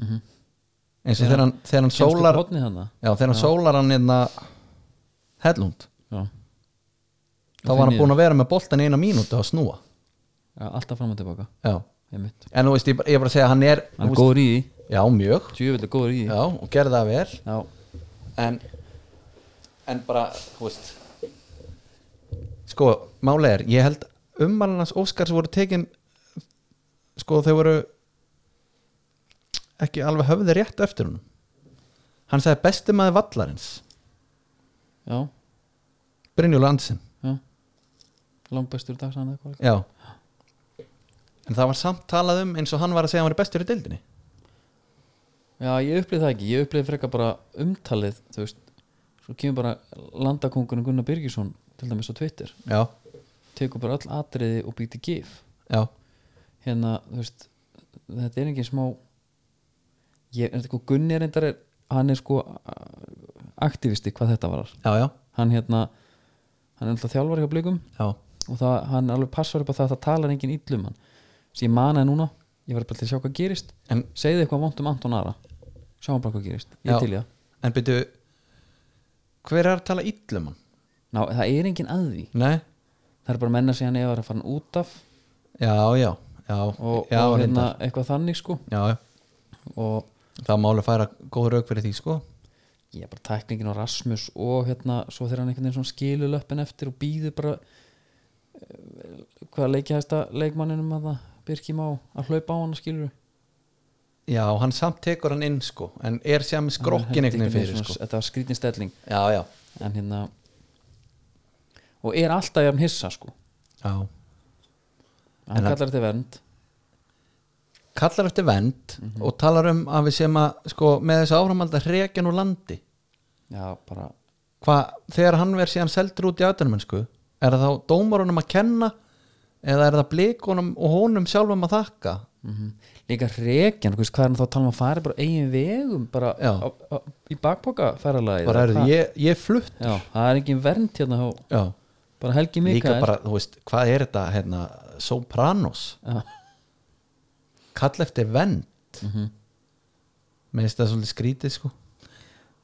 B: eins og þegar hann, þegar hann
A: Mhm. Kemst upp
B: sólar
A: hornið þarna?
B: já, þegar hann sólar hann hérna hellund,
A: Já.
B: þá var hann búinn að vera með boltan í eina mínútu að snúa
A: Já, alltaf fram og tilbaka,
B: já.
A: einmitt
B: en þú veist, ég, bara- ég er bara að segja hann er,
A: hann er
B: þú veist,
A: góður í því,
B: já, mjög
A: tjöfileg góður í því
B: já, og gerði það vel
A: já,
B: en, en bara þú veist sko, máli er, ég held ummalans Óskars voru tekin sko, þau voru ekki alveg höfði rétt eftir hún hann sagði besti maður vallarins
A: já,
B: Brynjúlu Andersen
A: já. langbæstur dags hann eitthvað líka.
B: já en það var samt talað um eins og hann var að segja að hann var bestur í deildinni
A: já, ég upplið það ekki, ég upplið frekar bara umtalið, þú veist svo kemur bara landakongurinn Gunnar Birgisson til dæmis á Twitter,
B: já,
A: tekur bara öll atriði og býti gif
B: já,
A: hérna, þú veist þetta er engin smá ég, þetta sko, Gunni er reyndar er, hann er sko a- aktivisti hvað þetta varar,
B: já, já,
A: hann hérna hann er alltaf þjálfari hjá blikum
B: já.
A: og það, hann alveg passar upp á það að það talar engin illum hann sem ég manaði núna, ég var bara til að sjá hvað gerist
B: En,
A: segði eitthvað vant um Anton Ara sjáum bara hvað gerist, ég
B: Já.
A: til ég
B: en byrju hver er að tala illum hann?
A: Ná, það er engin að því,
B: Nei,
A: það er bara menna sig hann eða er að fara hann út af
B: já, já já,
A: og,
B: já,
A: og hérna,
B: reyndar.
A: eitthvað þannig sko
B: já, já.
A: og
B: það má alveg færa góð rauk fyrir því sko
A: ég er bara tæklingin á Rasmus og hérna, svo þegar hann einhvern veginn svona skilur löppin eftir og býður bara eh, hvaða leiki hæsta leikmanninum að það Birkjum á að hlaupa á hann skilur
B: já, hann samt tekur hann inn sko en er sem skrokkin einhvern veginn fyrir sko
A: þetta var skrítin stelling
B: já, já,
A: en hérna og er alltaf jafn hissa sko
B: já
A: hann
B: En hann-
A: kallar þetta vernd
B: kallar eftir vend og talar um að við sem að sko með þessu áframald að hrekja nú landi
A: já bara
B: hvað, þegar hann verð síðan seldur út í aðdænumennsku er það þá dómarunum að kenna eða er það blikunum og honum sjálfum að þakka
A: mm líka reikjan, hvað er hann þá að tala um að fara bara eigin vegum bara
B: Já.
A: á, á, í bakpoka ferralagi
B: bara er ég, ég er flutt
A: já, það er engin vernd hérna hjá,
B: já,
A: bara Helgi
B: líka
A: Mikael
B: bara, þú veist, hvað er þetta hérna, Sopranos
A: Já.
B: kall eftir vend mm -hmm. með þetta svolítið skrítið sko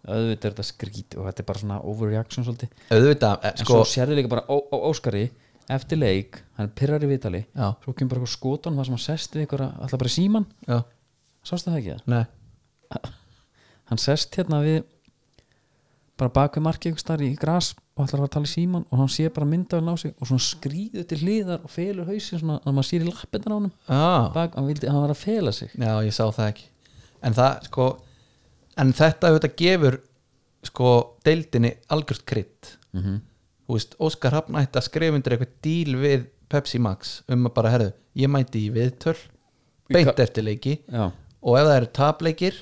A: auðvitað er þetta skrít og þetta er bara svona overreaction svolítið
B: auðvitað, eh,
A: en svo
B: sko
A: sérðu líka bara ó, ó, Óskari eftir leik, hann pirrar í vitali
B: já,
A: svo kemur bara eitthvað skotan þar sem hann sest við eitthvað, alltaf bara í síman,
B: já,
A: sástu það ekki það?
B: nei
A: hann sest hérna við bara bak við markið ykkur starf í gras og ætlar að fara að tala í síman og hann sé bara myndavel á sig og svona skrýður til hliðar og felur hausin svona að maður sýr í lappetan á honum
B: já,
A: bak, hann, vildi, hann var að fela sig
B: já, ég sá það ekki en það, sko en þetta auðvitað gefur sko, deildinni algjört krydd
A: mm -hmm.
B: þú veist, Óskar Hrafn ætti að skrifa undir eitthvað díl við Pepsi Max um að bara, herðu, ég mæti í viðtöl beint eftir leiki
A: já,
B: og ef það eru tapleikir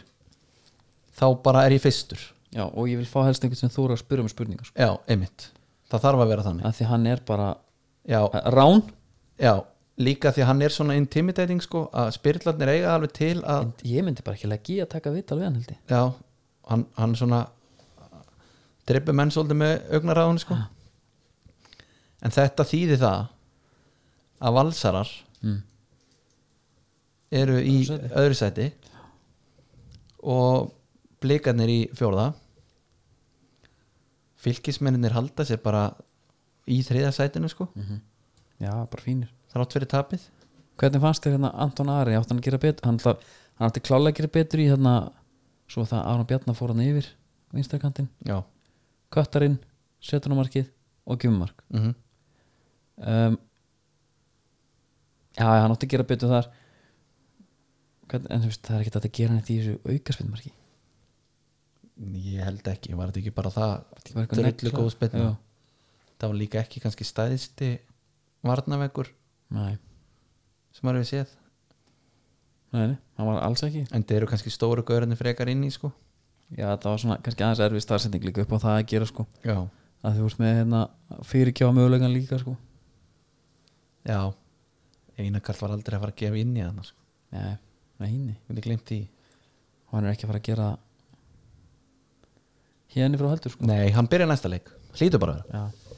B: þá bara er ég fyrstur
A: já, og ég vil fá helst einhvern sem þóra að spyrja um spurningar sko.
B: já, einmitt, það þarf að vera þannig
A: að því hann er bara eh,
B: já,
A: rán
B: já, líka því að hann er svona intimidating sko, að spyrillarnir eiga alveg til að,
A: en ég myndi bara ekki leggja í að taka vital við hann held ég
B: já, hann, hann svona drippi menn svolítið með augnaráðun sko. en þetta þýði það að valsarar
A: mm.
B: eru í
A: Öðru sæti.
B: öðru sæti og blikarnir í fjórða fylgismenninir halda sér bara í þriða sætinu sko
A: já, bara fínir
B: þrátt fyrir tapið
A: hvernig fannst þér hérna Anton Ari átti hann að gera betur hann, ætla, hann átti klálega að gera betur í hérna svo það Arna Bjarnar fór hann yfir vinstarkantinn,
B: já,
A: köttarinn setunumarkið og gjumark
B: mm
A: um, já, hann átti að gera betur þar Hvern, en þú veist, það er ekkert hægt að gera neitt í þessu aukarspennumarki
B: ég held ekki, var þetta ekki bara það
A: Þetta var eitthvað
B: drullu
A: negla.
B: góð spilna
A: Já.
B: það var líka ekki kannski stæðisti varnaveggur
A: nei,
B: sem maður hefur séð
A: nei, nei, hann var alls ekki
B: en þeir eru kannski stóru gaurinu frekar inn í sko
A: já, það var svona kannski aðeins erfið starfsending líka upp á það að gera sko
B: já,
A: að þú veist með hérna fyrirkjáða mögulegan líka sko
B: já Einarkarl var aldrei að fara að gefa inn í hann sko.
A: nei, nei, nei
B: við erum glimt í
A: og hann er ekki að fara að gera hérni frá heldur sko
B: Nei, hann byrja næsta leik Hlýtur bara að vera
A: Já.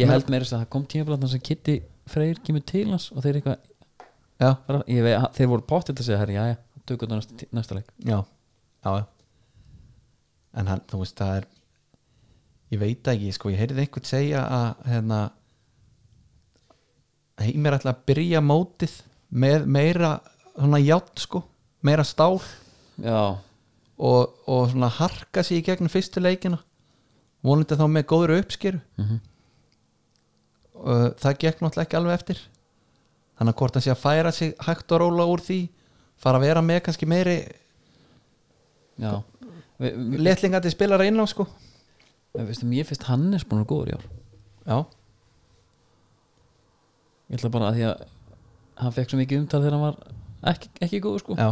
A: ég held meira þess að það kom tímablatna sem Kitty Freyr kemur til hans og þeir eitthvað
B: Já,
A: bara- ég vei, þeir voru pottið að segja herri, já, já, tökum þetta næsta, næsta leik
B: já, já já. En hann, þú veist, það er Ég veit ekki, sko, ég heyrði einhvern segja að hérna Heimir ætla að byrja mótið með meira svona játn, sko, meira stál
A: já,
B: og, og svona harka sig í gegnum fyrstu leikina vonandi þá með góður uppskeru
A: Mhm.
B: og það gekk náttúrulega ekki alveg eftir þannig að hvort hann sé að færa sig hægt og róla úr því fara að vera með kannski meiri
A: já vi, vi,
B: letlingandi spilara inn á sko
A: vi, veistu, mér finnst Hannes búin að vera góður í ár
B: já,
A: ég ætla bara að því að hann fekk svo mikið umtal þegar hann var ekki, ekki góður sko
B: já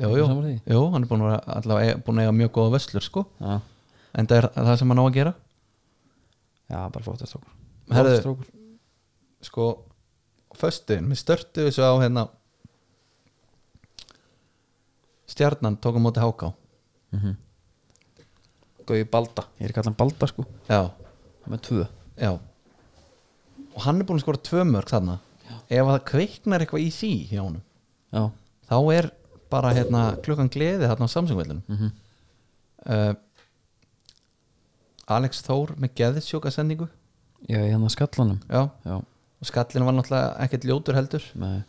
B: jú, jú,
A: Sammála því?
B: jú, hann er búin að, vera allavega, eiga- búin að eiga mjög góða vöslur sko
A: já,
B: en það er það sem hann á að gera
A: já bara flóttast okkur
B: Herðu.
A: Flottur strákur.
B: sko föstuðin, við störtu þessu á hérna stjarnan tók á móti háká
A: Mhm. Gaui Balda, ég er að kalla hann Balda sko
B: já,
A: hann er með tvö
B: já og hann er búin að skora tvö mörg þarna ef það kveiknar eitthvað í því hjá honum
A: já,
B: þá er bara hérna klukkan gleði þarna á samsungveldunum
A: mm
B: uh, Alex Þór með geðisjóka sendingu
A: já, ég hann að skallanum
B: já,
A: já,
B: og skallin var náttúrulega ekkert ljótur heldur
A: nei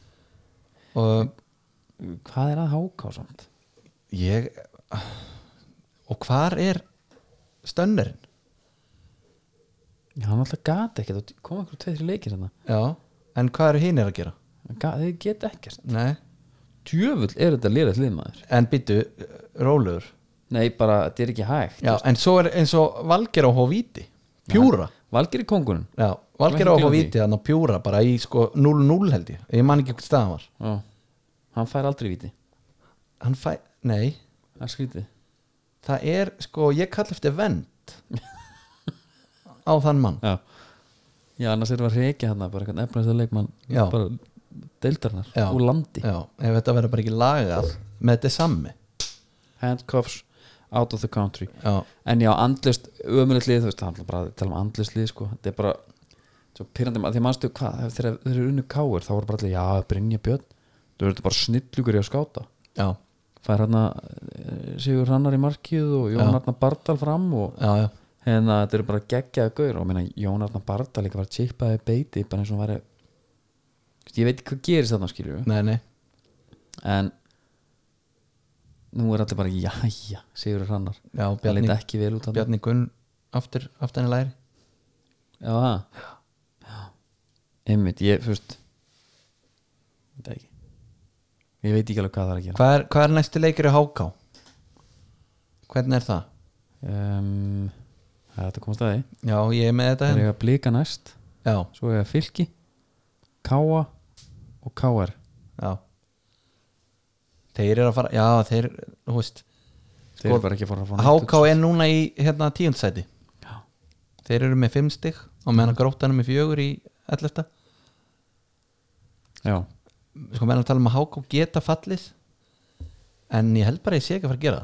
B: og
A: hvað er að háká samt
B: ég og hvar er stönnerinn?
A: já, hann alltaf gata ekkert og koma einhverjum tveið þrjum leikir hérna
B: Já, en hvað eru hinn er að gera?
A: Hann gat- þeir geta ekkert
B: Nei,
A: djöfull er þetta lýrætt liðmaður
B: en byttu rólegur
A: nei, bara, þetta er ekki hægt
B: Já, en svo er eins og Valger á Hóvíti Pjúra
A: Valgeri kongurinn
B: Já, Valger á
A: Ekki gleyma
B: Hóvíti, þannig að Pjúra bara í sko 0-0 held ég, ég man ekki hvort staðan var
A: já. hann fær aldrei viti
B: Hann fæ, nei,
A: það er skrítið
B: það er sko ég kall eftir vend á þann mann
A: já, já annars er það að reykja hann bara eitthvað efnæsta leikmann
B: Já.
A: bara deildarnar
B: Já.
A: úr landi
B: Já, ef þetta verður bara ekki lagað með þetta sammi
A: handcuffs out of the country
B: Já,
A: en já, andlist, ömulegt lið þú veist, það handlar bara að tala um andlist lið sko. þetta er bara svo pyrrandi, því að mannstu hvað ef þeir þeir eru unnu káir, þá voru bara allir já, Brynja Björn, þú verður bara snillugur í að skáta
B: já,
A: fær hann að eh, Sigur Hrannar í markið og Jón
B: Já.
A: Arnar Bardal fram og
B: já, já,
A: hérna þetta eru bara geggjaða gaur og minna, Jón Arnar Bardal líka var tippaði beiti bara eins og hann væri Þú veist, ég veit ekki hvað gerist þarna skilur
B: nei, nei
A: en nú er allir bara jæja Sigur Hrannar,
B: já,
A: hann leit
B: Bjarni,
A: ekki vel út þarna.
B: Bjarni Gunn aftur, aftur henni læri
A: Já, það Já Einmitt, ég, fyrst Þetta ekki Ég veit ekki alveg hvað það er að gera
B: hvað er, hvað er næsti leikur í Háká? hvernig er það?
A: um, Það er þetta komast að því
B: já, ég er með þetta
A: Það er
B: hérna
A: eiga blika næst
B: já,
A: Svo eiga fylki Káa og Káar
B: já þeir eru að fara, já, þeir þú veist,
A: Þeir
B: Sko,
A: eru bara ekki að fara að fá neitt
B: Háká er núna í hérna tíundsæti
A: Já.
B: þeir eru með fimm stig og meðan að gróttan er með fjögur í 11.
A: Já,
B: sko meðan að tala um að Háká geta fallið en ég held bara að ég sé ekki að fara að gera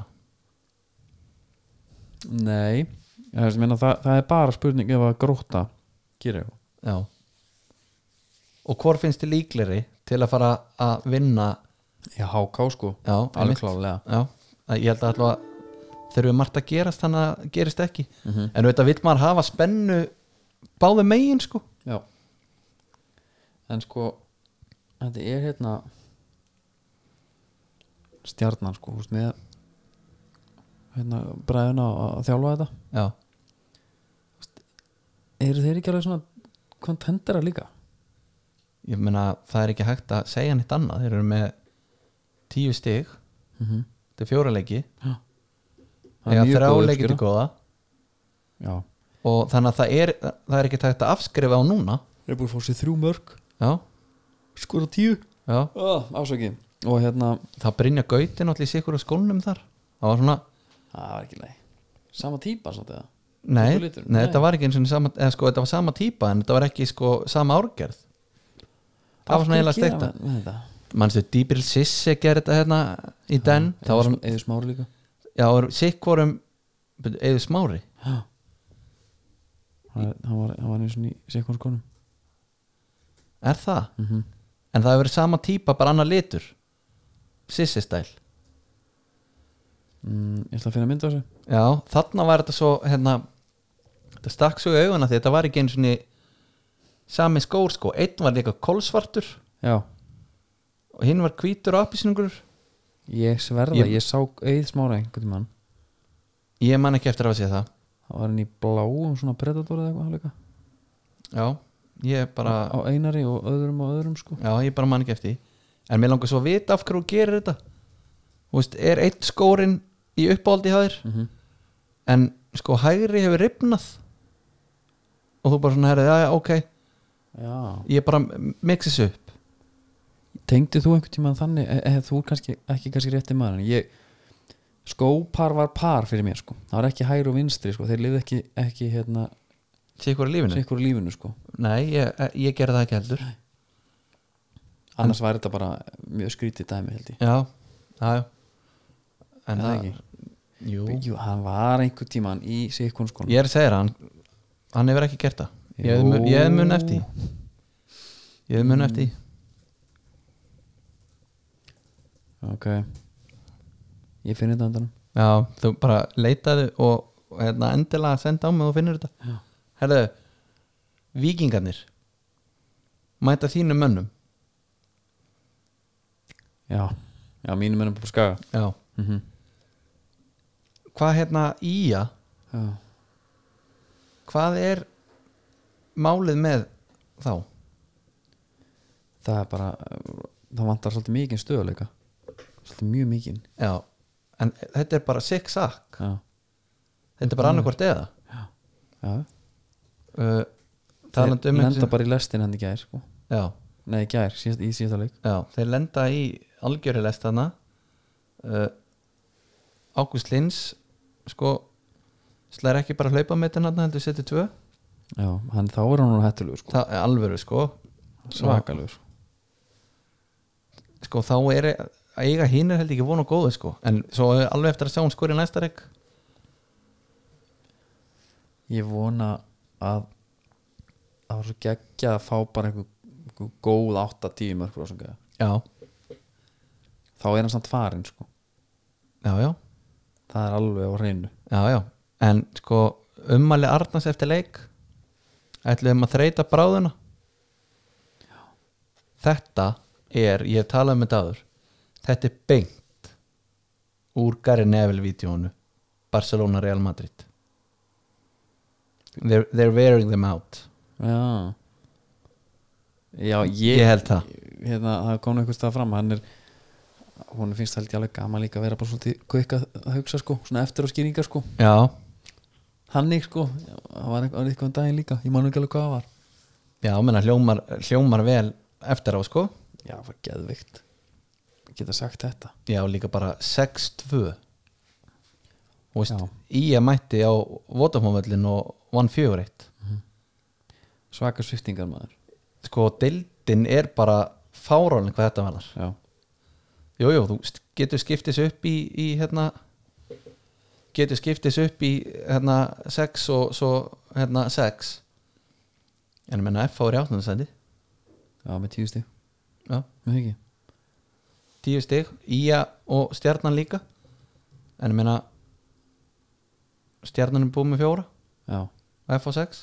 B: það
A: nei það, er, meina, það, það er bara spurning ef að gróta Gera ég
B: Já Og hvort finnst þið líkleri til að fara að vinna
A: Já, Háká sko
B: Já,
A: Alveg
B: einmitt.
A: klálega
B: Já, að ég held að alltaf þeir eru margt að gerast þannig að gerist ekki
A: mm
B: En auðvitað vill maður hafa spennu báði megin sko
A: Já En sko Þetta er hérna Stjarnan sko húst, með, hérna bræðin að, að þjálfa þetta
B: Já,
A: Eru þeir ekki alveg svona kontendera líka?
B: ég meina það er ekki hægt að segja neitt annað Þeir eru með tíu stig
A: Mm -hmm.
B: Þetta er fjóra leiki Þegar Mhm. þrjá leiki til góða
A: Já
B: Og þannig að það er, það er ekki hægt að afskrifa á núna
A: Þeir eru búin að fá sér þrjú mörg
B: Já,
A: Skora tíu
B: já
A: oh, Ásaki Og hérna
B: Það brinja gautin allir í sikur á skólnum þar Það var svona
A: Það var ekki leið Sama típa samt eða
B: Nei,
A: Þú
B: nei,
A: lítur- nei.
B: þetta var ekki eins og sama, eða, sko, þetta var sama típa en þetta var ekki sko, sama árgerð Það var svona eiginlega steikta
A: steikta
B: Manstu, Dýbril Sisse gerði þetta hérna í den Það var hann,
A: Eða smári líka
B: já, var sikkvorum eða smári
A: Já Hann hann var, hann var eins og ný sekundskónum
B: Er það?
A: mm -hmm.
B: En það hefur verið sama típa, bara annar litur Sisse stæl
A: mm, Ég ætla að finna mynd á þessu
B: Já, þarna var þetta svo hérna, þetta stakk svo í auguna því þetta var ekki eins og sami skór sko, einn var líka kolsvartur
A: Já,
B: og hinn var hvítur og appisningur
A: ég sverða,
B: Ég-
A: ég, sá Eið Smára einhvern tímann
B: Ég man ekki eftir að hafa séð það
A: Það var hann í bláum svona predator eða eitthvað líka
B: Já, ég bara
A: Á einari og öðrum og öðrum sko
B: Já, ég bara man ekki eftir því. En mér langar svo að vita af hverju þú gerir þetta Þú veist, er eitt skórin í uppáhaldi hjá þér
A: mm -hmm.
B: En sko hægri hefur ripnað Og þú bara svona herrið, já, já, ok
A: Já
B: Ég bara mixis upp
A: Tengdi þú einhvern tímann þannig e e Þú er kannski, ekki kannski rétti maður en ég Skópar var par fyrir mér sko Það var ekki hægri og vinstri sko Þeir lifði ekki, ekki hérna
B: Sér hverju lífinu
A: Sikkur í lífinu sko
B: Nei, ég, ég gerði það ekki heldur
A: Annars væri þetta bara mjög skrítið dæmi held ég
B: Já, já, já
A: Er
B: En
A: það
B: það,
A: ekki?
B: jú
A: Jú, hann var einhvern tímann í sko. Sikkunskónum
B: Ég er að segja það, hann, hann hefur ekki gert það Ég hefði mun- Ég hefði mun eftir því. Ég hefði mun eftir því.
A: Ok Ég finn þetta andan
B: Já, þú bara leitaðu og, og hérna, endilega senda á mig og finnir þetta
A: Já.
B: Herðu, vikingarnir mæta þínum mönnum
A: Já, já mínum ennum bara skaga
B: Já
A: mm -hmm.
B: Hvað hérna íja,
A: Já,
B: hvað er málið með þá?
A: það er bara uh, Það vantar svolítið mikið stöðuleika Svolítið mjög mikið
B: Já, en þetta er bara sick sack
A: Já,
B: Þetta er bara annarkvort eða
A: já
B: uh,
A: Þeir
B: Talandi um
A: lenda
B: einhver-
A: bara í lestin hann í gær sko
B: Já,
A: Nei, í gær, síðast, í síðasta leik
B: já, þeir lenda í algjörulest hana uh, Ágúst Lins sko slæðir ekki bara hlaupa með þetta heldur setið tvö
A: Já, hann þá er hann nú hættulegu sko
B: það er alvöru sko
A: Svakalegu sko
B: sko þá er að eiga hinn er held ekki von og góðu sko en svo er alveg eftir að sjá hún skori næsta reik
A: Ég vona að Það var svo geggja að fá bara einhver, einhver góð 8-10 mörkur og svona gæja.
B: já,
A: Þá er hann samt farinn sko
B: já, já
A: það er alveg á hreinu
B: já, já, en sko ummæli Arnars eftir leik ætluðum að þreita bráðuna þetta er, ég hef talað um þetta aður þetta er beint úr Gary Neville-vídeónu Barcelona Real Madrid they're, they're wearing them out
A: já já,
B: ég,
A: ég,
B: held það
A: hérna, það kom einhvers stað fram hann er, hún finnst held ég alveg gaman líka að vera bara svolítið kvik að að hugsa sko, svona eftir á skýringar sko
B: já,
A: Hannig sko, það var eitthvað, eitthvað um daginn líka ég man ekki alveg hvað það var
B: já, menna hljómar, hljómar vel eftir á sko
A: já, það var geðvikt geta sagt þetta
B: já, líka bara 6-2 Þú veist,
A: Já.
B: ég mætti á Vodafónvöllin og vann 4-1
A: svaka sviftingar maður
B: sko, deildin er bara fáránlega hvað þetta verðar
A: já,
B: jú, jú, þú st- getur skiptis upp í, í hérna getur skiptis upp í hérna 6 og svo hérna 6 en ég menna F á rjáttunasæti
A: já með tíu stig
B: já,
A: með ekki,
B: 10 stig, Ía og stjarnan líka en ég menna stjarnan er búið með 4
A: já
B: og F á 6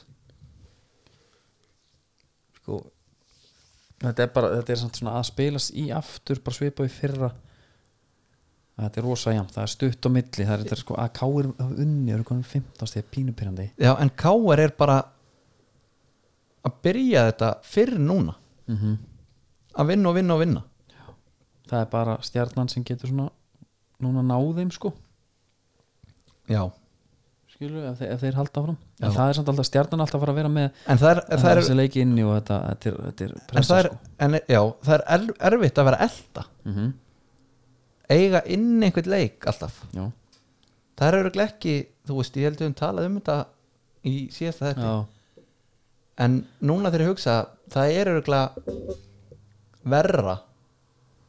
A: sko þetta er bara, þetta er samt svona að spilast í aftur bara svipa í fyrra þetta er rosa jæmt, það er stutt á milli það er þetta er sko að káir af unni eru konum 15 stig pínupyrrandi
B: já, en Káar er bara að byrja þetta fyrr núna
A: mm
B: að vinna og vinna og vinna
A: það er bara stjarnan sem getur svona núna náðum sko
B: já
A: skilur, ef, þeir, ef þeir halda fram en
B: Já.
A: það er samt alltaf stjarnan alltaf að fara að vera með
B: En það er, það er,
A: þessi leiki inni og þetta, þetta er, þetta er
B: en
A: pressa
B: það er, en, já, það er erf- erfitt að vera elda
A: sko mm -hmm.
B: eiga inn einhvern leik alltaf
A: já,
B: það er örugglega ekki, þú veist, ég held við um talað um þetta í síðasta þetta
A: já,
B: en núna þegar ég hugsa það er örugglega verra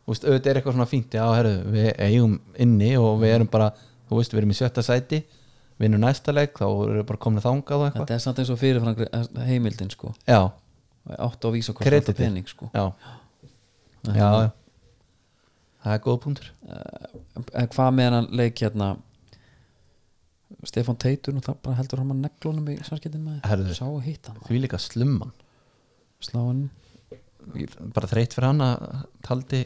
B: þú veist, auðvitað er eitthvað svona fínt já, herru, við eigum inni og við erum bara þú veist, við erum í sjötta sæti vinnum næsta leik, þá erum við bara komin að þangað og eitthvað
A: þetta er samt eins og fyrirfram heimildin sko
B: já,
A: átt á vísa hvort
B: Kreditið.
A: þetta pening sko
B: já, já, já. það er góð punktur
A: en hvað með hann leik hérna Stefan Teitur náttúrulega bara heldur hann að neglunum í sarkettin með
B: Herðu.
A: sá og hitt hann
B: því líka slumman
A: slá hann
B: bara þreytt fyrir hann að taldi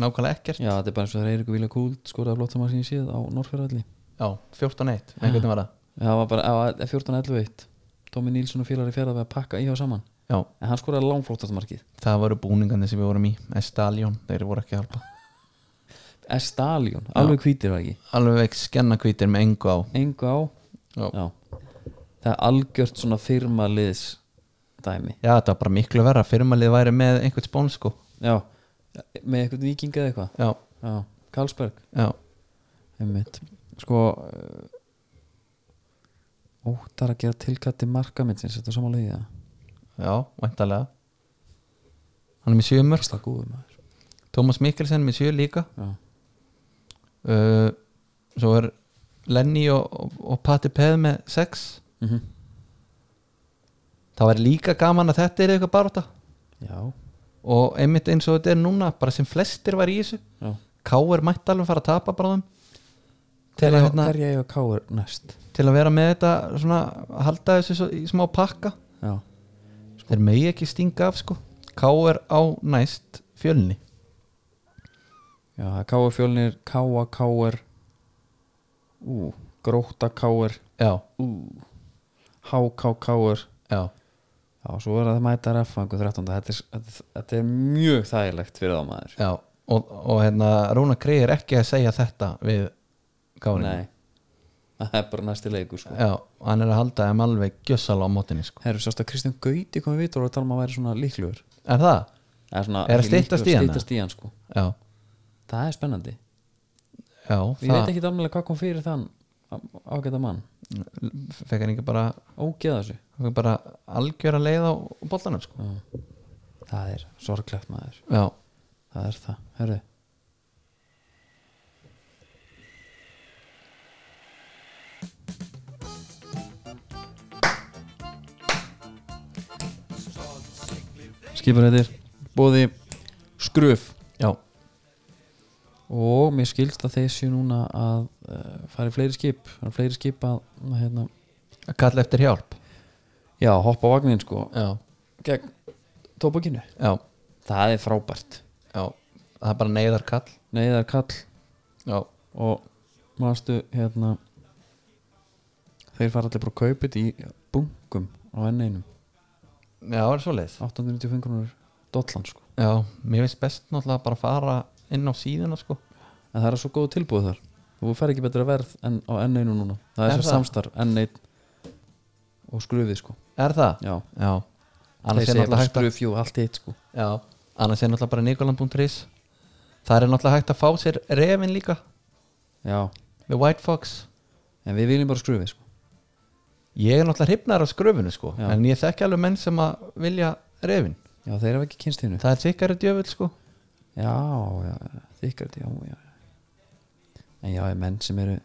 B: nákvæmlega ekkert
A: já þetta er bara eins og þeir Eirik og Vilja Kúld skoraði flott sem að síðan síð á Norrfjörðalli
B: Já, 14-1, nei hvernig var það
A: það var bara það var 14-11-1 Tómi Nílsson og félari fjarað við að pakka í á saman
B: Já,
A: en hann skoraði langflóttast markið
B: það voru búningandi sem við vorum í Estaljón, þeir voru ekki að hjálpa
A: Estaljón, alveg hvítir var ekki
B: Alveg skennakvítir með engu á
A: engu á
B: Já,
A: já. það er algjört svona firmaliðs dæmi
B: Já þetta var bara miklu verra Firmalið væri með einhvern spón sko
A: já, með eitthvað viking eða eitthvað
B: Já,
A: já, Karlsberg
B: já,
A: einmitt. sko eh, óttar að gera tilkatti markamennsins, þetta er samanlega það
B: já, væntalega Hann er með 7 mörg
A: Ísla góður maður
B: Tómas Mikkelsen með 7 líka
A: já,
B: uh, Svo er Lenny og, og, og Patti Peð með 6
A: mm
B: Það var líka gaman að þetta er eitthvað baróta
A: já,
B: og einmitt eins og þetta er núna bara sem flestir var í þessu
A: já.
B: K.R. mætti alveg fara að tapa bara þeim til að,
A: Hverja-
B: hérna,
A: hverja ég og Káur næst
B: til að vera með þetta svona, halda þessu svo, í smá pakka
A: já,
B: þeir megi ekki stinga af sko K.R. á næst fjölni
A: já Káur fjölnir Káa Káur ú, Gróta Káur
B: já,
A: ú, Háká Káur
B: já,
A: Já, svo er að mæta reffangu 13. Þetta er, þetta, þetta er mjög þægilegt fyrir þá maður.
B: já og, og hérna Rúna Krei er ekki að segja þetta við K.R.
A: Nei, það er bara næsti leikur sko.
B: já, hann er að halda þeim alveg gjössal á mótinni sko
A: Herru, sást að Kristján Gauti komið vitur og við tala um að væri svona líklugur.
B: er það?
A: Er, svona,
B: Er að
A: ekki líklegur,
B: styttast í hann,
A: Styttast í hann sko.
B: já,
A: Það er spennandi.
B: já
A: Ég veit ekki alveg hvað kom fyrir þann á- ágæta mann.
B: fekk hann ekki bara,
A: Ógeða þessu.
B: fekk bara algjöra leið á bollanum sko
A: Já. Það er sorglegt maður.
B: já,
A: Það er það. Herru. Skipar heitir Bóði Skröf
B: já
A: og mér skilst að þeir séu núna að uh, fara í fleiri skip það er fleiri skip að, að hérna,
B: að kalla eftir hjálp
A: já, hoppa á vagnin sko
B: já,
A: gegn tóbakinu
B: já,
A: það er frábært
B: já það er bara neyðar kall
A: neyðar kall
B: já,
A: og mástu hérna þeir fara allir bara að kaupa þetta í bunkum á enn einum
B: já, er svo leið
A: 895 krónur dollan sko
B: já, mér finnst best náttúrulega bara að fara inn á síðuna sko
A: en það er svo góð tilbúið þar þú fær ekki betra verð en á enn einu núna það er
B: Er
A: þess
B: það?
A: samstarf enn einn og skrufið sko
B: er það?
A: já
B: já,
A: þeir
B: annars er
A: segja
B: náttúrulega
A: bara
B: hægt að
A: skrufjú og allt eitt sko
B: já, annars er náttúrulega bara nikolan.is það er náttúrulega hægt að fá sér refin líka
A: já
B: með White Fox
A: en við viljum bara skrufið sko
B: ég er náttúrulega hrifnar af skröfunu sko
A: Já.
B: en ég þekki alveg menn sem að vilja refin
A: já þeir hafa ekki kynst hinnu
B: það er sikkari djöfull sko
A: já já þykkar þetta já já já. en já er menn sem eru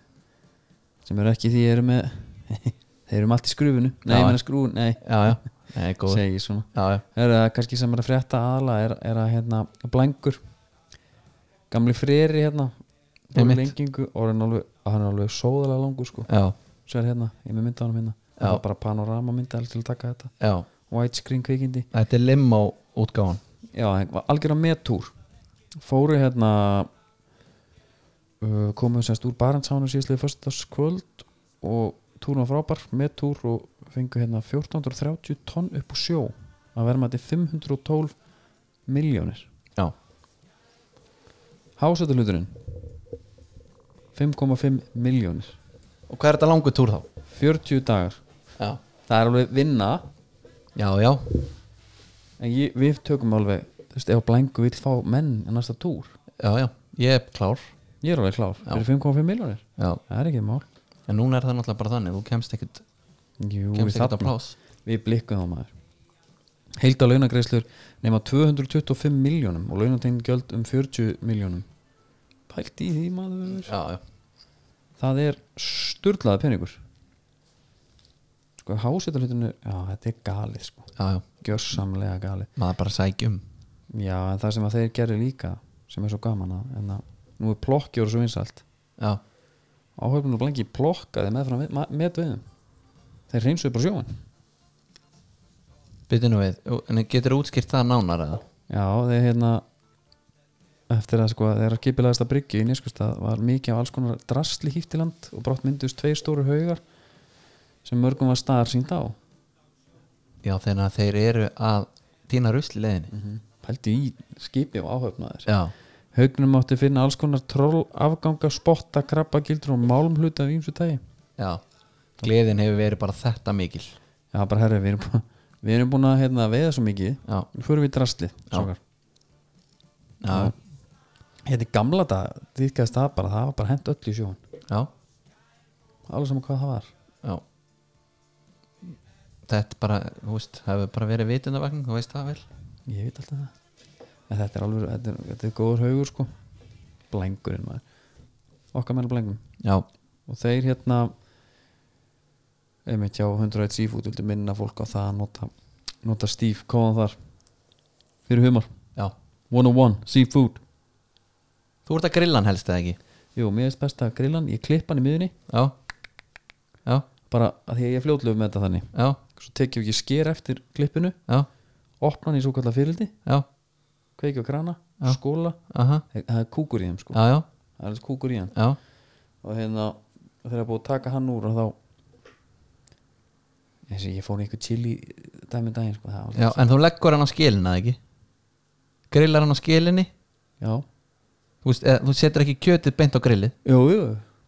A: sem eru ekki því eru með þeir eru með allt í skrufinu nei
B: Já.
A: ég menna skrúin nei
B: já, já, Nei, góð
A: segi ég svona
B: já, já,
A: er það kannski sem er að frétta aðla er, er að hérna blængur gamli freri hérna og
B: Einmitt.
A: lengingu og hann er alveg, hann er alveg sóðalega langur sko
B: já,
A: svo er hérna, ég er með mynda á hann hérna
B: Já.
A: það er bara panorama mynda alveg til að taka þetta
B: já
A: widescreen kvikindi
B: þetta er limó útgáfan
A: já, hann var algjör á metúr fóru hérna uh, komu semst úr Barentshánu síðslega föstudagskvöld og túrun var frábær, metúr og fengu hérna 1430 tonn upp úr sjó að verma þetta 512 miljónir
B: já,
A: hásættuhluturinn 5,5 miljónir
B: og hvað er þetta langur túr þá?
A: 40 dagar
B: já,
A: það er alveg vinna
B: já, já,
A: En ég, við tökum alveg Þú veist, ef Blængu vill fá menn en næsta túr
B: já, já. ég er klár
A: Ég er alveg klár,
B: Já.
A: fyrir 5,5 miljónir
B: já.
A: Það er ekki mál
B: en núna er það náttúrulega bara þannig þú kemst ekkert,
A: Jú,
B: kemst ekkert á
A: þarna.
B: plás
A: Við blikkum þá maður Heilda launagreislur nema 225 miljónum og launategn gjöld um 40 miljónum Pælt í því maður
B: já, já,
A: Það er sturlaða peningur Sko hásetalutinu Já, þetta er galið sko
B: já, já
A: Gjörsamlega galið
B: maður bara sækjum
A: Já, en það sem að þeir gerir líka sem er svo gaman að, en að nú er plokkjóru svo vinsalt
B: já,
A: áhaupinu blanki plokkaði með frá metveiðum þeir reynsuðu bara sjóin
B: byrjum við en getur útskýrt það nánar eða?
A: já þeir hérna eftir að sko þeirra kipilegasta bryggju í Nýskustad var mikið af alls konar drasli hýft í land og brátt myndust tveir stóru haugar sem mörgum var staðar sínt á
B: já, þegar þeir eru að týna rusli leiðinni
A: pældi í skipi og áhaupnaðir
B: já,
A: haugnum átti finna alls konar troll afganga, spotta, krabba, gildur og málmhluta af ýmsu tægi
B: já gleðin hefur verið bara þetta mikil
A: já bara herri við erum búin, við erum búin að hérna, veiða svo mikið
B: já,
A: nú fyrir við drasli strákar.
B: já,
A: hérna í gamla dag dýrkast það bara, það var bara hent öll í sjón
B: já,
A: alveg saman hvað það var
B: já. þetta er bara, þú veist, það hefur bara verið vitundavagn, þú veist það vel
A: ég veit alltaf það en þetta er alveg, þetta er, þetta er góður haugur sko blengurinn maður okkar menn er blengum
B: já,
A: og þeir hérna einmitt hjá 101 Seafood vildu minna fólk á það að nota, nota Steve kóðan þar fyrir humar
B: já,
A: 101 Seafood
B: þú ert að grilla hann helst eða ekki
A: jú, mér er best að grilla hann, ég klippa hann í miðunni
B: já, já,
A: bara að því að ég er fljótlöf með þetta þannig
B: já,
A: svo tekjum ég sker eftir klippinu
B: já
A: opna hann í svo kallar fyrildi
B: já,
A: kveikja á krana,
B: Já.
A: skóla
B: aha,
A: það er kúkur í þeim sko
B: já, já,
A: það er kúkur í hann
B: já
A: og hérna þegar búið að taka hann úr og þá eins og ég fór í einhver chili dæmi daginn sko, það var
B: já, en þú leggur hann á skilin eða ekki grillar hann á skilinni
A: já.
B: þú, veist, eða, þú setur ekki kjötið beint á grillið
A: Jú, jú,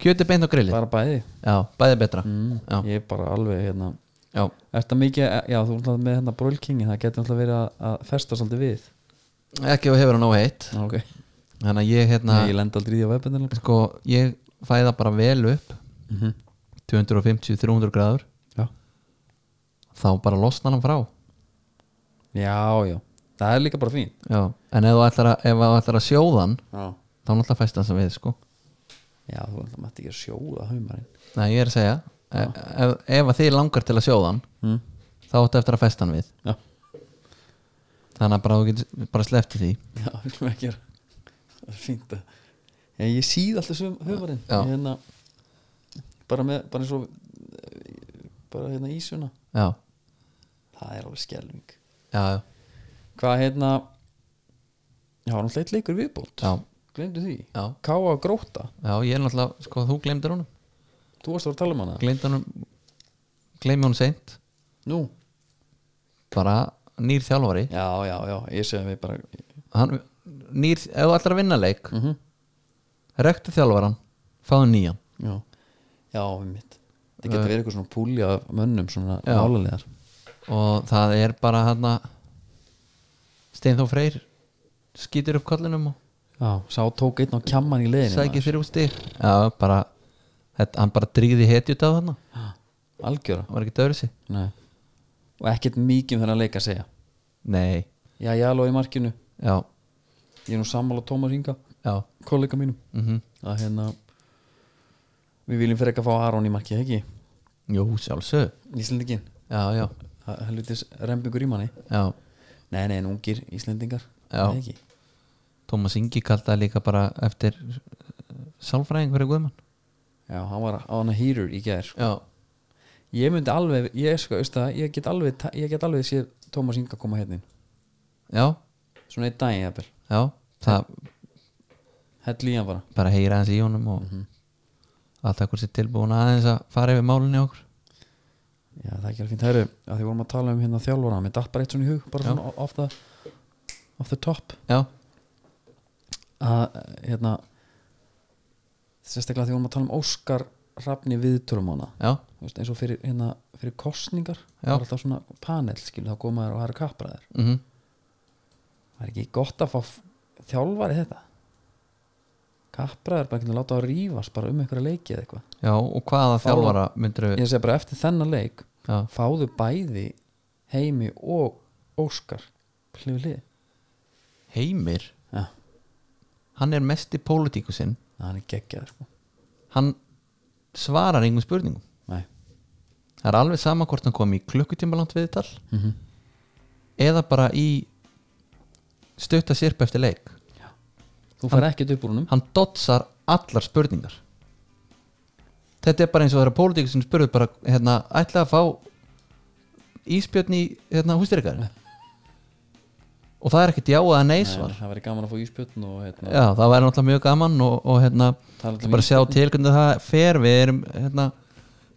B: kjötið beint á grillið,
A: bara bæði
B: já, bæði betra
A: mm,
B: Já.
A: ég er bara alveg hérna
B: já,
A: Er það mikið, já þú ætlaði með hérna brölkingi það getur alltaf verið að, að festa svolítið við
B: ekki ef þú hefur hann óheitt
A: Já, okay.
B: þannig að ég hérna
A: Nei, ég lenda aldrei í því á webendinu
B: sko, ég fæða bara vel upp
A: mm -hmm.
B: 250-300 gráður
A: Já.
B: þá bara losna hann frá
A: já, já, það er líka bara fín
B: já. en ef þú ætlar að, ef þú ætlar að sjóða hann
A: Já,
B: þá náttúrulega fæst hann sem við sko
A: já þú ætlaði mætti ekki að sjóða haumarinn
B: Nei, ég er að segja e- ef, ef að þið langar til að sjóða hann
A: mm.
B: þá áttu eftir að fæst hann við
A: Já,
B: þannig að bara þú getur bara sleppti því
A: já, við viljum ekki að- það er fínt að ég, ég síð alltaf sum humarinn
B: Já.
A: Ég hérna, bara með bara eins og eh, bara hérna ísuna
B: já,
A: það er alveg skelving
B: já, já,
A: hvað hérna já, hann alltaf eitt leikur í viðbót
B: já,
A: glemdu því,
B: já,
A: káa og gróta
B: já ég er náttúrulega, sko, þú gleymdir honum
A: þú varst að vera að tala um hana
B: gleymdi honum gleymi honum seint
A: nú,
B: bara nýr þjálfari
A: já, já, já, ég segi við bara
B: hann, nýr, ef þú ætlar að vinna leik
A: mhm
B: rektu þjálfaran, fáðu nýjan
A: Já, já, við mitt Það geta verið eitthvað svona púli af mönnum svona
B: Já.
A: álalegar
B: og það er bara hann að Steinþó Freyr skýtur upp kollinum og
A: Já, sá tók einn á kjamman í leiðinu
B: sækir þrjú stig já, bara, þetta, hann bara drýði hetjut á þarna,
A: maður. Algjöra
B: hann var ekki dörrisi
A: Nei. Og ekkert mikið um þennan leik að segja
B: nei,
A: Já, ég alveg í markinu
B: já,
A: Ég er nú sammála Tómas Inga,
B: já
A: kollega mínum
B: mm
A: að hérna Við viljum fyrir ekki að fá Aron í markið, ekki?
B: jú, sjálfsög
A: Íslendingin,
B: já, já,
A: það er helvitis rembingur í manni
B: já,
A: Nei, nei, en ungir Íslendingar
B: Já.
A: Nei, ekki.
B: Tómas Ingi kallt það líka bara eftir eh, sálfræðing fyrir Guðmann
A: Já, hann var á hana hýrur í gær
B: já,
A: Ég myndi alveg, ég sko, veist það Ég get alveg, ta- ég get alveg séð Tómas Inga koma hérna inn.
B: já,
A: svona einn daginn jafnvel
B: já það
A: hell í hann bara
B: bara heyra hans í honum og allt akkur sér tilbúin aðeins að fara yfir málinni okkur
A: já það er ekki alveg fínt herri að því vorum að tala um hérna þjálfara mér datt bara eitt svona í hug bara
B: Já.
A: svona off the, off the top
B: já,
A: að hérna sérstaklega að því vorum að tala um Óskar Rafni viðtölum hana
B: já,
A: Þú veist, eins og fyrir, hérna, fyrir kostningar það
B: Já.
A: er alltaf svona panel skil þá koma þér og það eru kapraðir
B: mhm
A: það er ekki gott að fá f- þjálfari í þetta kapraðir bara ekki að láta að rífast bara um einhverja leiki eða eitthvað
B: Já, og hvaða
A: Fáum-
B: þjálfara myndir við
A: ég segi bara eftir þennan leik
B: Já,
A: fáðu bæði heimi og Óskar hlifið lið
B: Heimir,
A: Já.
B: hann er mest í pólitíkusinn
A: Nei, hann er geggjað sko.
B: hann svarar engum spurningum
A: Nei.
B: það er alveg sama hvort hann kom í klukkutíma langt viðtal
A: Mm -hmm.
B: eða bara í stutta sérpa eftir leik
A: þú fær ekkert upp úr húnum
B: hann dotsar allar spurningar þetta er bara eins og þeirra pólitíkusinn spurður bara hérna, ætla að fá íspjörn í hérna, hústyrikar og það er ekkert já eða nei svar
A: það væri gaman að fá íspjötn og hérna,
B: Já, það væri náttúrulega mjög gaman og, og hérna,
A: tala
B: bara sjá til hvernig það fer, við erum hérna,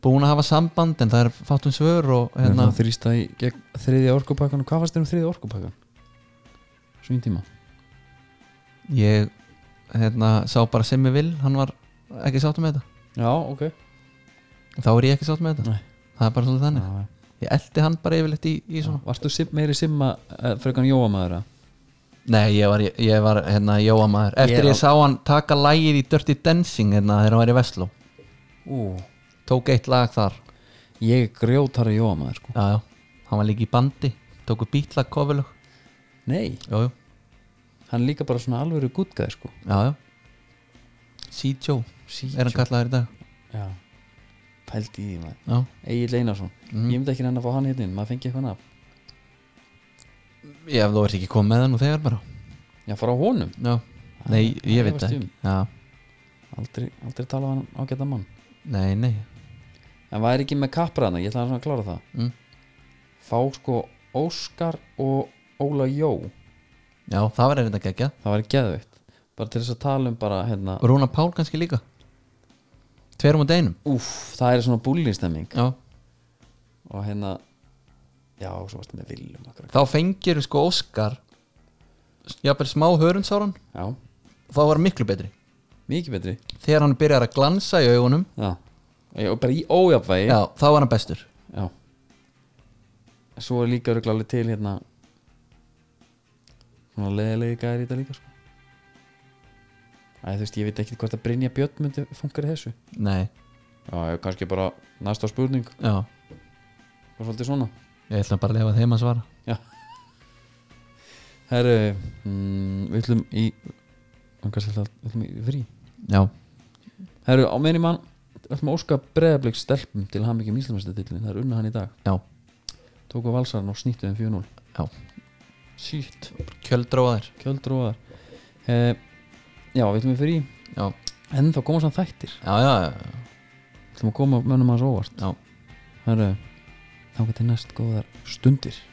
B: búin að hafa samband en það er fátum svör og
A: hérna.
B: hérna,
A: þrýsta í gegn þriðja orkupakkan hvað fannst þér um þriðja orkupakkan? svona í tíma
B: ég hérna, sá bara sem ég vil, hann var ekki sátt með þetta,
A: já, ok
B: þá er ég ekki sátt með þetta
A: Nei.
B: það er bara svolítið þannig,
A: Já,
B: ég eldi hann bara yfirleitt í, í
A: já.
B: svona,
A: varstu sim, meiri simma uh, frekan Jóamæður
B: nei ég var, ég var hérna, jóamaður,
A: Ég
B: eftir
A: er
B: ég sá hann taka lægið í Dirty Dancing hérna, þegar hann var í Vestló, tók eitt lag þar,
A: ég er grjótari Jóamæður sko.
B: já, já hann var líka í bandi, tóku bítlag kofilug,
A: nei,
B: jú, jú
A: hann er líka bara svona alvöru guttgæð sko.
B: Já, já Sítjó er hann kallaður í dag
A: já pælt í því maður
B: Já,
A: Egil Einarsson
B: Mhm.
A: ég myndi ekki hann að fá hann hérna inn, maður fengi eitthvað nafn
B: ég, þú ert ekki komið með hann og þegar bara
A: já, fara á honum,
B: Já, nei, ég um. veit
A: efast
B: það
A: ég
B: ekki Já,
A: aldrei, aldrei tala hann ágæta mann
B: nei, nei
A: en væri ekki með kapraðna, ég ætla hann að klára það
B: mm.
A: fá sko Óskar og Óla Jó
B: Já, það var eitthvað gekkja
A: það væri geðveikt, bara til þess að tala um bara hérna,
B: Rúna Pál kannski líka Tverum og deinum
A: úff, það er svona búlinstemming
B: Já,
A: og hérna já, og svo varstu með viljum akkurat.
B: þá fengir sko Óskar Jafnvel smá hörundsáran
A: já,
B: Þá var hann miklu betri
A: mikið betri
B: Þegar hann byrjar að glansa í augunum
A: já, og bara í ójafvægi
B: Já, þá var hann bestur
A: Já Svo er líka örugglega alveg til hérna Svona leðilegi gæri í þetta líka sko. Æ, þú veist, ég veit ekki hvort að Brynja Björn myndi funkar í þessu
B: Nei,
A: Já, ég, kannski bara næsta spurning
B: já
A: og svolítið svona
B: Ég ætla bara að lefa þeim að svara
A: Herru, mm, við ætlum í hann kannski ætla- við ætlum í frí
B: Já,
A: Herru, á meðin í mann ætlum að óska breðablik stelpum til hann mikið um Íslandsmestatitlin, það er unna hann í dag
B: Já.
A: Tóku valsarinn og snýttu þeim 4-0
B: Já.
A: Sýtt
B: kjöldróðar
A: kjöldróðar eh, já, við ætlum við fyrir í
B: já,
A: en þá koma samt þættir
B: já, já, já.
A: Það maður koma mönnum hans óvart
B: Já.
A: Herru, þá getur næst góðar stundir